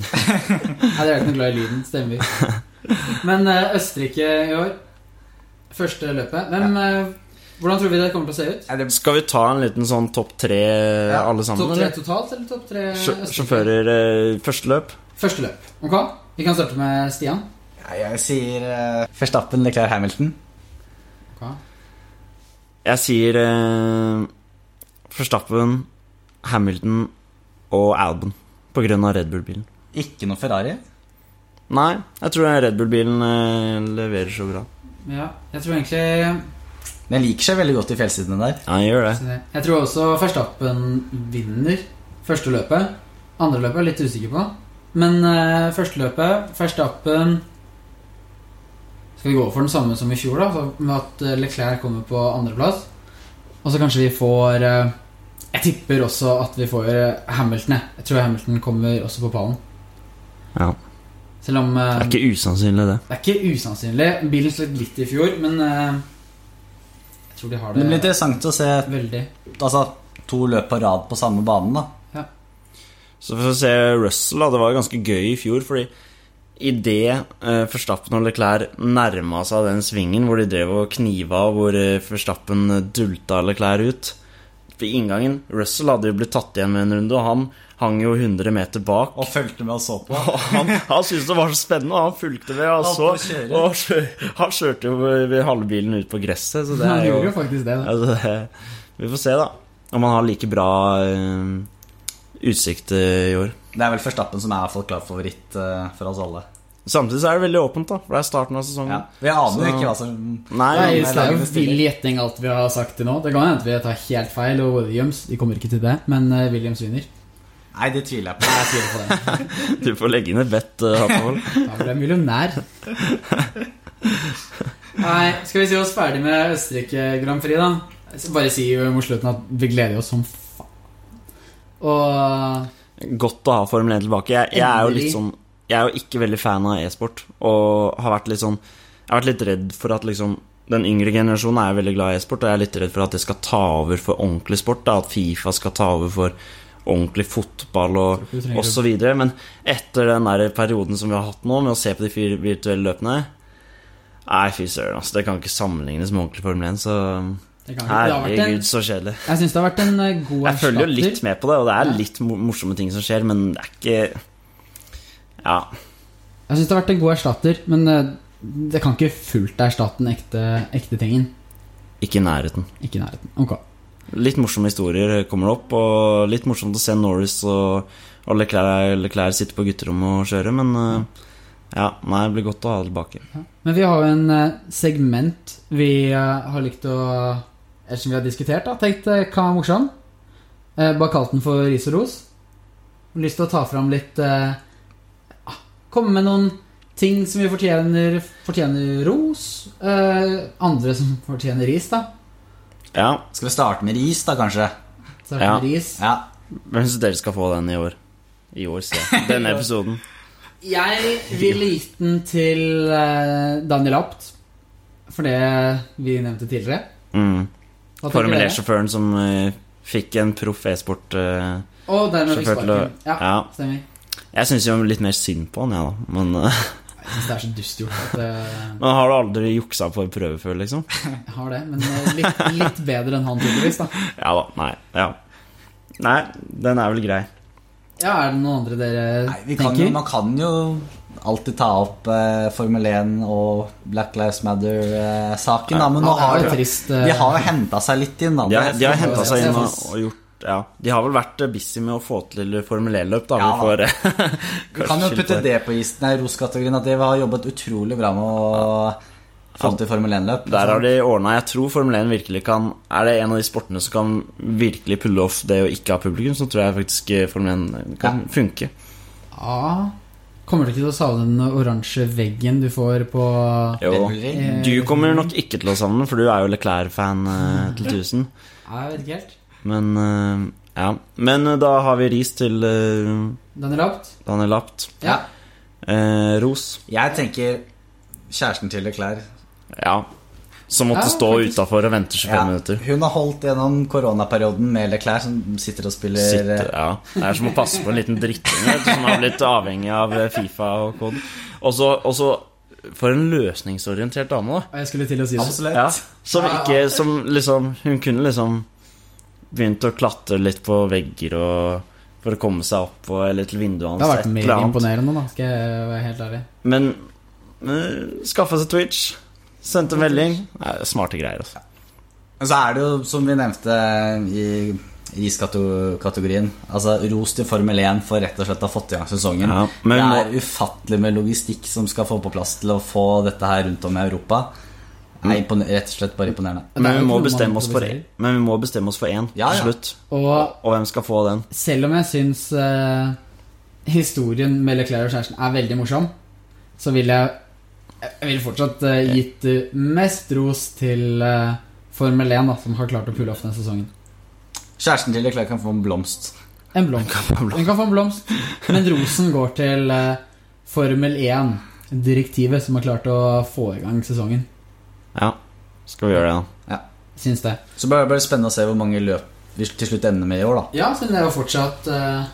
Speaker 1: Nei, dere er ikke noe glad i lyden, stemmer. Men eh, Østerrike i år, første løpet. Hvem, eh, hvordan tror vi det kommer til å se ut?
Speaker 3: Er det
Speaker 2: Skal vi ta en liten sånn topp tre, eh,
Speaker 3: Ja,
Speaker 2: alle sammen?
Speaker 1: Topp tre
Speaker 2: eller?
Speaker 1: totalt, eller topp tre
Speaker 2: Sjå-
Speaker 1: Østerrike?
Speaker 2: Sjåfører eh, første løp?
Speaker 1: Første løp. Ok, vi kan starte med Stian.
Speaker 3: Nei, Jeg sier eh, Verstappen, Leclerc, Hamilton.
Speaker 1: Ok.
Speaker 2: Jeg sier uh, Forstappen, Hamilton og Albon på grunn av Red Bull-bilen.
Speaker 3: Ikke noe Ferrari.
Speaker 2: Nei, jeg tror Red Bull-bilen eh, leverer så bra.
Speaker 1: Ja, jeg tror egentlig
Speaker 3: Den liker seg veldig godt i fjellsidene der.
Speaker 2: Ja, den gjør det.
Speaker 1: Jeg tror også Verstappen vinner første løpet. Andre løpet er jeg litt usikker på. Men eh, første løpet, Verstappen Skal vi gå for den samme som i fjor, da? så Med at eh, Leclerc kommer på andreplass. Og så kanskje vi får eh, Jeg tipper også at vi får eh, Hamilton. jeg. Jeg tror Hamilton kommer også på pallen.
Speaker 2: Ja.
Speaker 1: Selv om eh,
Speaker 2: Det er ikke usannsynlig, det.
Speaker 1: det er ikke usannsynlig. Bilen slet litt i fjor, men eh, jeg tror de har
Speaker 3: Men det blir
Speaker 1: det
Speaker 3: interessant å se
Speaker 1: veldig.
Speaker 3: altså, to løp på rad på samme bane. da
Speaker 2: Så for å se Russell, da. Det var ganske gøy i fjor, fordi idet uh, Forstappen og Leclerc nærma seg den svingen hvor de drev og kniva, og hvor uh, Forstappen dulta Leclerc ut ved inngangen Russell hadde jo blitt tatt igjen med en runde, og han hang jo 100 meter bak. (laughs)
Speaker 3: Og fulgte med (laughs) og så på.
Speaker 2: Og Han, han syntes det var så spennende, og han fulgte med. Og
Speaker 3: Han
Speaker 2: så,
Speaker 3: får kjøre.
Speaker 2: og kjø- han kjørte jo halve bilen ut på gresset, så det
Speaker 1: Han
Speaker 2: er jo
Speaker 1: gjorde jo faktisk det. Da.
Speaker 2: altså, det- Vi får se, da. Om han har like bra eh, utsikt eh, i år.
Speaker 3: Det er vel Førstappen som er i hvert fall klar favoritt eh, for oss alle.
Speaker 2: Samtidig så er det veldig åpent, da. For det er starten av sesongen.
Speaker 3: Ja. Vi aner jo
Speaker 2: Så-
Speaker 3: ikke hva som
Speaker 2: Nei,
Speaker 1: Nei,
Speaker 3: men
Speaker 1: så det er jo
Speaker 3: laget bestiller.
Speaker 1: vill gjetning alt vi har sagt til nå. Det kan hende at vi tar helt feil, og Williams De kommer ikke til det, men eh, Williams vinner.
Speaker 3: Nei, det tviler jeg på.
Speaker 1: Jeg tviler på det.
Speaker 2: du får legge inn et bet, eh, Hattevold.
Speaker 1: Da blir jeg millionær. Nei, skal vi si oss ferdig med Østerrike Grand Prix, da? Så Bare si eh, mot slutten at vi gleder oss som faen. Og
Speaker 2: Godt å ha Formel 1 tilbake. Jeg, jeg er jo litt
Speaker 1: Endelig.
Speaker 2: sånn Jeg er jo ikke veldig fan av e-sport, og har vært litt sånn Jeg har vært litt redd for at liksom den yngre generasjonen er jo veldig glad i e-sport, og jeg er litt redd for at det skal ta over for ordentlig sport. Da, at Fifa skal ta over for ordentlig fotball og,
Speaker 1: tror ikke vi trenger
Speaker 2: og så videre. Men etter den der perioden som vi har hatt nå, med å se på de fire virtuelle løpene Nei, fy søren, altså. Det kan ikke sammenlignes med ordentlig Formel 1, så
Speaker 1: det kan ikke. Det har vært en,
Speaker 2: herregud, så kjedelig.
Speaker 1: jeg syns det har vært en eh, god
Speaker 2: Jeg følger jo litt med på det, og det er
Speaker 1: Ja.
Speaker 2: litt mo- morsomme ting som skjer, men det er ikke Ja.
Speaker 1: Jeg syns det har vært en god erstatter, men eh, det kan ikke fullt erstatte den ekte, ekte tingen.
Speaker 2: Ikke i nærheten.
Speaker 1: Ikke i nærheten. Ok.
Speaker 2: Litt morsomme historier kommer opp, og litt morsomt å se Norris og, og Leclerc, Leclerc sitte på gutterommet og kjøre, men eh, ja, nei, det blir godt å ha det tilbake.
Speaker 1: Men vi har jo en eh, segment vi eh, har likt å Eller som vi har diskutert, da. Tenkt eh, kan være morsom. Eh, Bare kalt den for ris og ros. Har Lyst til å ta fram litt eh, ah, Komme med noen ting som vi fortjener, fortjener ros. eh, andre som fortjener ris, da.
Speaker 2: Ja,
Speaker 3: Skal vi starte med ris, da, kanskje?
Speaker 1: Så er det
Speaker 2: Ja.
Speaker 1: ris.
Speaker 3: Ja.
Speaker 2: hvem syns dere skal få den i år? I år, sier
Speaker 1: (laughs)
Speaker 2: jeg. Denne episoden.
Speaker 1: Jeg ville gitt den til eh, Daniel Apt. For det vi nevnte tidligere.
Speaker 2: Mm.
Speaker 1: Hva tenker
Speaker 2: Formel
Speaker 1: dere?
Speaker 2: 1-sjåføren som eh, fikk en proff e-sport eh,
Speaker 1: Og dermed fikk
Speaker 2: sjåfør til å
Speaker 1: sparken. Ja,
Speaker 2: Ja.
Speaker 1: stemmer.
Speaker 2: Jeg syns jo litt mer synd på han, jeg, da, men eh,
Speaker 1: Jeg synes det er så dust gjort at eh,
Speaker 2: Men har du aldri juksa på en prøve før, liksom?
Speaker 1: jeg har det. Men eh, litt, litt bedre enn han, tydeligvis. da
Speaker 2: (laughs) Ja da. Nei. Ja. Nei, den er vel grei.
Speaker 1: Ja, Er det noen andre dere
Speaker 3: Nei, vi kan jo,
Speaker 1: tenker?
Speaker 3: man kan jo alltid ta opp eh, Formel 1 og Black Lives Matter-saken, da, men
Speaker 1: Ja,
Speaker 3: nå
Speaker 1: det
Speaker 3: har
Speaker 1: er jo
Speaker 3: jo
Speaker 1: trist eh,
Speaker 3: de har jo henta seg litt inn, da.
Speaker 2: De har,
Speaker 3: Det-
Speaker 2: de har
Speaker 1: det-
Speaker 2: henta seg
Speaker 1: det-
Speaker 2: inn og,
Speaker 1: det-
Speaker 2: og gjort Ja. De har vel vært eh, busy med å få til Formel 1-løp, da.
Speaker 3: Ja,
Speaker 2: vi får, (laughs)
Speaker 3: Vi kan jo
Speaker 2: kanskje
Speaker 3: putte
Speaker 2: skylde på
Speaker 3: det på isen i roskategorien, at de har jobbet utrolig bra med å få til Formel 1-løp.
Speaker 2: Der har de ordna Jeg tror Formel 1 virkelig kan Er det en av de sportene som kan virkelig pulle off det å ikke ha publikum, så tror jeg faktisk eh, Formel 1 kan funke.
Speaker 1: Ja. Kommer du ikke til å savne den oransje veggen du får på
Speaker 2: Jo.
Speaker 3: Ring.
Speaker 1: Eh,
Speaker 2: Du kommer nok ikke til å savne den, for du er jo Leclerc-fan eh, til 1000.
Speaker 1: Nei, Jeg vet ikke helt.
Speaker 2: Men eh, ja. Men eh, da har vi ris til eh,
Speaker 1: Daniel Apt?
Speaker 2: Daniel Apt.
Speaker 1: Ja.
Speaker 2: Eh, ros.
Speaker 3: Jeg tenker kjæresten til Leclerc.
Speaker 2: Ja. Som måtte
Speaker 1: Ja,
Speaker 2: stå
Speaker 1: faktisk.
Speaker 2: utafor og vente 25
Speaker 3: Ja,
Speaker 2: minutter.
Speaker 3: Hun har holdt gjennom koronaperioden med Leclerc, som sitter og spiller
Speaker 2: Sitte, ja. Det er som å passe på en liten dritting vet du, som har blitt avhengig av eh, Fifa og kod. Og så og så- For en løsningsorientert dame, da.
Speaker 1: Og jeg skulle til å si det.
Speaker 3: Absolutt.
Speaker 2: Ja, som ikke Som liksom Hun kunne liksom begynt å klatre litt på vegger og for å komme seg opp og, eller til vinduet hans.
Speaker 1: Det har vært
Speaker 2: et
Speaker 1: mer
Speaker 2: eller annet.
Speaker 1: imponerende, da, skal jeg være helt ærlig.
Speaker 2: Men eh, skaffa seg Twitch. Sendte melding. Nei, smarte greier, altså.
Speaker 3: Men Så er det jo, som vi nevnte i riskategorien, altså ros til Formel 1 for rett og slett å ha fått i gang sesongen.
Speaker 2: Ja, men
Speaker 3: det
Speaker 2: må-
Speaker 3: er ufattelig med logistikk som skal få på plass til å få dette her rundt om i Europa. Det
Speaker 2: Mm.
Speaker 3: er impone- rett og slett bare imponerende.
Speaker 1: Det er
Speaker 2: Men
Speaker 1: jo
Speaker 2: vi, må
Speaker 1: ikke noe man
Speaker 2: bestemme oss for,
Speaker 1: improviserer.
Speaker 2: men vi må bestemme oss for én
Speaker 3: Ja, ja.
Speaker 2: til slutt.
Speaker 1: Og
Speaker 2: Og hvem skal få den?
Speaker 1: Selv om jeg syns eh, historien med Leclerc og kjæresten er veldig morsom, så vil jeg Jeg vil fortsatt eh, gitt eh, mest ros til eh, Formel 1, da, som har klart å pulle off denne sesongen.
Speaker 3: Kjæresten til Leclerc kan få en blomst.
Speaker 1: En blomst. Den kan få en blomst, men rosen går til eh, Formel 1-direktivet, som har klart å få i gang sesongen.
Speaker 2: Ja, skal vi gjøre det, da?
Speaker 1: Syns det.
Speaker 3: Så bare, bare spennende å se hvor mange løp vi til slutt ender med i år, da.
Speaker 1: Ja, siden det er jo fortsatt eh,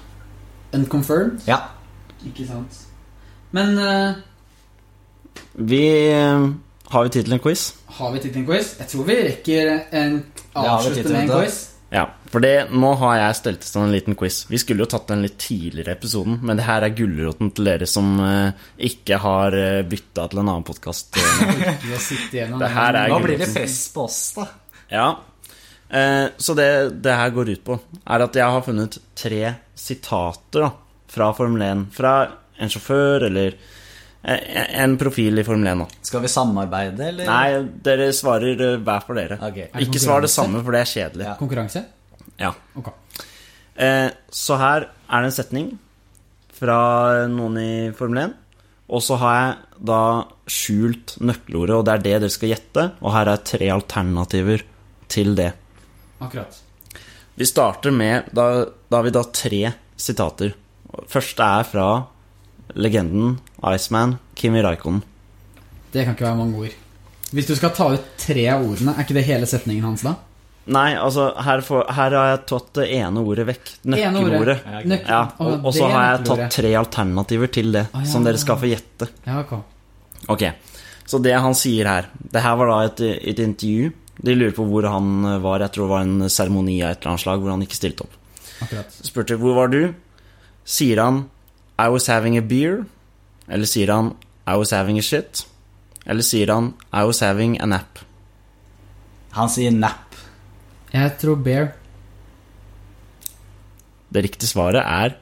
Speaker 1: unconfirmed.
Speaker 3: Ja.
Speaker 1: Ikke sant. Men eh,
Speaker 2: Vi eh, har jo tittelen quiz.
Speaker 1: Har vi tid til en quiz? Jeg tror vi rekker en
Speaker 3: vi tid
Speaker 1: avslutte
Speaker 3: til,
Speaker 1: med en
Speaker 3: vet du.
Speaker 1: quiz.
Speaker 2: Ja, for det, nå har jeg stelt i stand en liten quiz. Vi skulle jo tatt den litt tidligere i episoden, men det her er gulroten til dere som eh, ikke har uh, bytta til en annen eh,
Speaker 1: (laughs)
Speaker 2: podkast.
Speaker 1: Ikke å sitte igjennom
Speaker 2: Det her er
Speaker 3: Nå
Speaker 2: gulroten.
Speaker 3: blir det press på oss, da.
Speaker 2: (laughs) Ja. Eh, så det det her går ut på, er at jeg har funnet tre sitater da, fra Formel 1. Fra en sjåfør eller eh, en profil i Formel 1. Da.
Speaker 3: Skal vi samarbeide, eller?
Speaker 2: Nei, dere svarer eh, hver for dere.
Speaker 3: Ok.
Speaker 1: det
Speaker 2: Ikke svar det
Speaker 1: konkurranse?
Speaker 2: samme, for det er kjedelig.
Speaker 3: Ja.
Speaker 1: Konkurranse?
Speaker 2: Ja.
Speaker 1: Ok.
Speaker 2: Eh, så her er det en setning fra noen i Formel 1. Og så har jeg da skjult nøkkelordet, og det er det dere skal gjette. Og her er tre alternativer til det.
Speaker 1: Akkurat.
Speaker 2: Vi starter med Da, da har vi da tre sitater. Første er fra legenden Iceman Kimi Raikkonen.
Speaker 1: Det kan ikke være mange ord. Hvis du skal ta ut tre av ordene, er ikke det hele setningen hans da?
Speaker 2: Nei, altså, her, får- her har jeg tatt det ene ordet vekk.
Speaker 1: Ene ordet.
Speaker 2: Nøkkelordet.
Speaker 3: Ja, ok.
Speaker 1: Nøk-
Speaker 2: Ja,
Speaker 1: Å,
Speaker 2: og, og
Speaker 1: det
Speaker 2: så har jeg
Speaker 1: nøkkelordet.
Speaker 2: tatt tre alternativer til det,
Speaker 1: Å, ja.
Speaker 2: som dere skal få gjette.
Speaker 1: Ja, ok.
Speaker 2: Ok, så det han sier her Det her var da et, et intervju De lurer på hvor han var Jeg tror det var en seremoni av et eller annet slag Hvor han ikke stilte opp
Speaker 1: Akkurat.
Speaker 2: Så spurte jeg, hvor var du? Sier han I was having a beer Eller sier han I was having a shit Eller sier han I was having a nap
Speaker 3: Han sier napp.
Speaker 1: Jeg tror Bear.
Speaker 2: Det riktige svaret er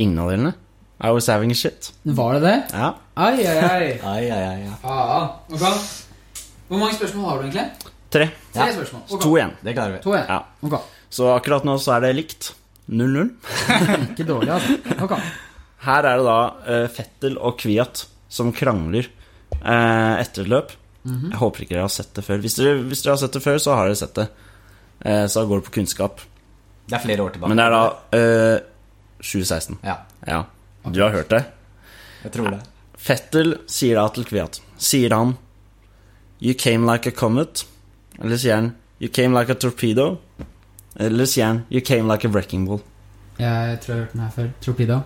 Speaker 2: Ingen av delene I was having a shit
Speaker 1: Var det det?
Speaker 2: Ja
Speaker 1: Ai, ai, ai.
Speaker 3: Ai, ai, ai, ai.
Speaker 1: (laughs) Ah, ok. Hvor mange spørsmål har du egentlig?
Speaker 2: Tre
Speaker 1: Tre
Speaker 3: Ja.
Speaker 1: spørsmål.
Speaker 2: Så
Speaker 1: Ok.
Speaker 2: To igjen
Speaker 3: Det klarer vi.
Speaker 1: To igjen.
Speaker 2: Ja
Speaker 1: Ok.
Speaker 2: Så akkurat nå så er det likt 0-0
Speaker 1: Ikke dårlig, altså. Ok.
Speaker 2: Her er det da eh, Fettel og Kviat som krangler eh, etter et løp. Jeg håper ikke dere har sett det før. Hvis dere, hvis dere har sett det før, så har dere sett det. Eh, så da går det på kunnskap.
Speaker 3: Det er flere år tilbake.
Speaker 2: Men det er da eh, 7-16.
Speaker 3: Ja,
Speaker 2: Ja. Du har hørt det?
Speaker 3: jeg tror det.
Speaker 2: Fettel sier da til Kviat Sier han You came like a comet? Eller sier han You came like a torpedo? Eller sier han You came like a wrecking ball?
Speaker 1: Jeg tror jeg har hørt den her før. Torpedo.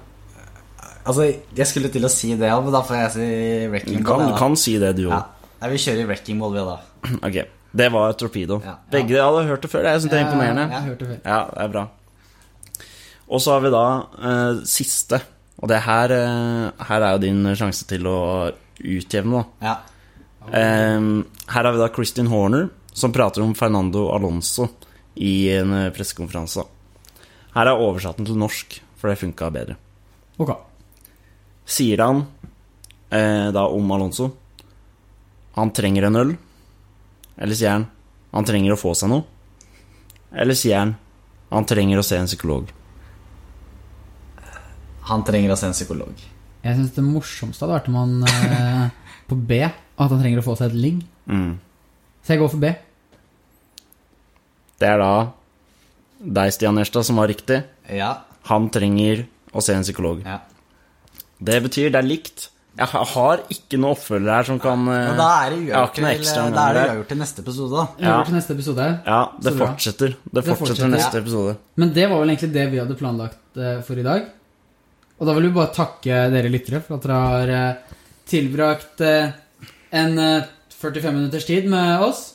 Speaker 3: Altså, jeg skulle til å si det, ja, men da får jeg si
Speaker 2: Du
Speaker 3: wrecking ball.
Speaker 2: kan, du
Speaker 3: jeg, da.
Speaker 2: kan si det, du òg.
Speaker 3: Ja. Nei, vi kjører wrecking ball, vi, da.
Speaker 2: Ok, Det var torpedo.
Speaker 3: Ja.
Speaker 2: Begge hadde hørt det før. Jeg synes det er imponerende.
Speaker 1: Jeg har hørt det før.
Speaker 2: Ja, det er bra. Og så har vi da eh, siste. Og det her, eh, her er jo din sjanse til å utjevne, da.
Speaker 3: Ja.
Speaker 2: Ehm, her har vi da Christian Horner, som prater om Fernando Alonso i en eh, pressekonferanse. Her er oversatten til norsk, for det funka bedre.
Speaker 1: Ok.
Speaker 2: Sier han eh, da om Alonso Han trenger en øl? Eller sier han han trenger å få seg noe? Eller sier han han trenger å se en psykolog?
Speaker 3: Han trenger å se en psykolog.
Speaker 1: Jeg syns det morsomste hadde vært om han eh, på B At han trenger å få seg et ligg.
Speaker 2: Mm.
Speaker 1: Så jeg går for B.
Speaker 2: Det er da deg, Stian Erstad, som var riktig.
Speaker 3: Ja.
Speaker 2: Han trenger å se en psykolog.
Speaker 3: ja.
Speaker 2: Det betyr det er likt. Jeg ha- har ikke noe oppfølger her som kan eh,
Speaker 3: Men da er det
Speaker 2: Jeg har
Speaker 3: uavgjort
Speaker 2: ikke noe
Speaker 3: til, eh,
Speaker 2: ekstra
Speaker 3: da er det
Speaker 2: nummer.
Speaker 3: uavgjort til neste episode, da.
Speaker 1: Vi
Speaker 2: Ja.
Speaker 1: går til neste episode.
Speaker 2: Ja, det
Speaker 1: Så bra.
Speaker 2: fortsetter. Det
Speaker 1: fortsetter,
Speaker 2: fortsetter neste
Speaker 3: ja.
Speaker 2: episode.
Speaker 1: Men det var vel egentlig det vi hadde planlagt eh, for i dag. Og da vil vi bare takke dere lyttere for at dere har eh, tilbrakt eh, en eh, 45 minutters tid med oss.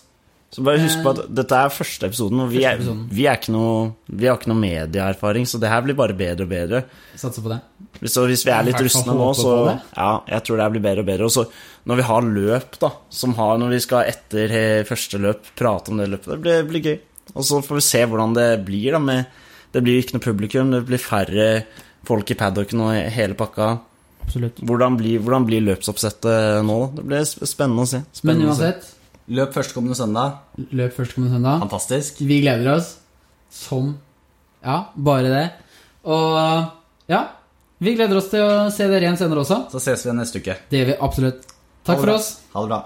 Speaker 2: Så bare husk på at dette er første episoden, og vi,
Speaker 1: Første
Speaker 2: er,
Speaker 1: episoden.
Speaker 2: vi, er ikke noe, vi har ikke noe medieerfaring, så det her blir bare bedre og bedre.
Speaker 1: Satser på det.
Speaker 2: Så hvis vi er litt
Speaker 1: I hvert fall
Speaker 2: rustne nå,
Speaker 1: håper
Speaker 2: så
Speaker 1: på det.
Speaker 2: Ja, jeg tror det her blir bedre og bedre. Og så når vi har løp, da, som har når vi skal etter eh, første løp prate om det løpet, det blir, blir gøy. Og så får vi se hvordan det blir, da. Med, det blir ikke noe publikum, det blir færre folk i paddocken og hele pakka.
Speaker 1: Absolutt.
Speaker 2: Hvordan blir, hvordan blir løpsoppsettet nå, da? Det blir sp- spennende å se.
Speaker 1: Men
Speaker 2: Spennende å se.
Speaker 1: uansett,
Speaker 3: Løp førstkommende søndag.
Speaker 1: løp førstkommende søndag.
Speaker 3: Fantastisk.
Speaker 1: Vi gleder oss som Ja, bare det. Og ja, vi gleder oss til å se dere igjen senere også.
Speaker 3: Så ses vi neste uke.
Speaker 1: Det gjør vi absolutt. Takk
Speaker 3: Ha det
Speaker 1: for
Speaker 3: bra.
Speaker 1: oss.
Speaker 3: Ha det bra.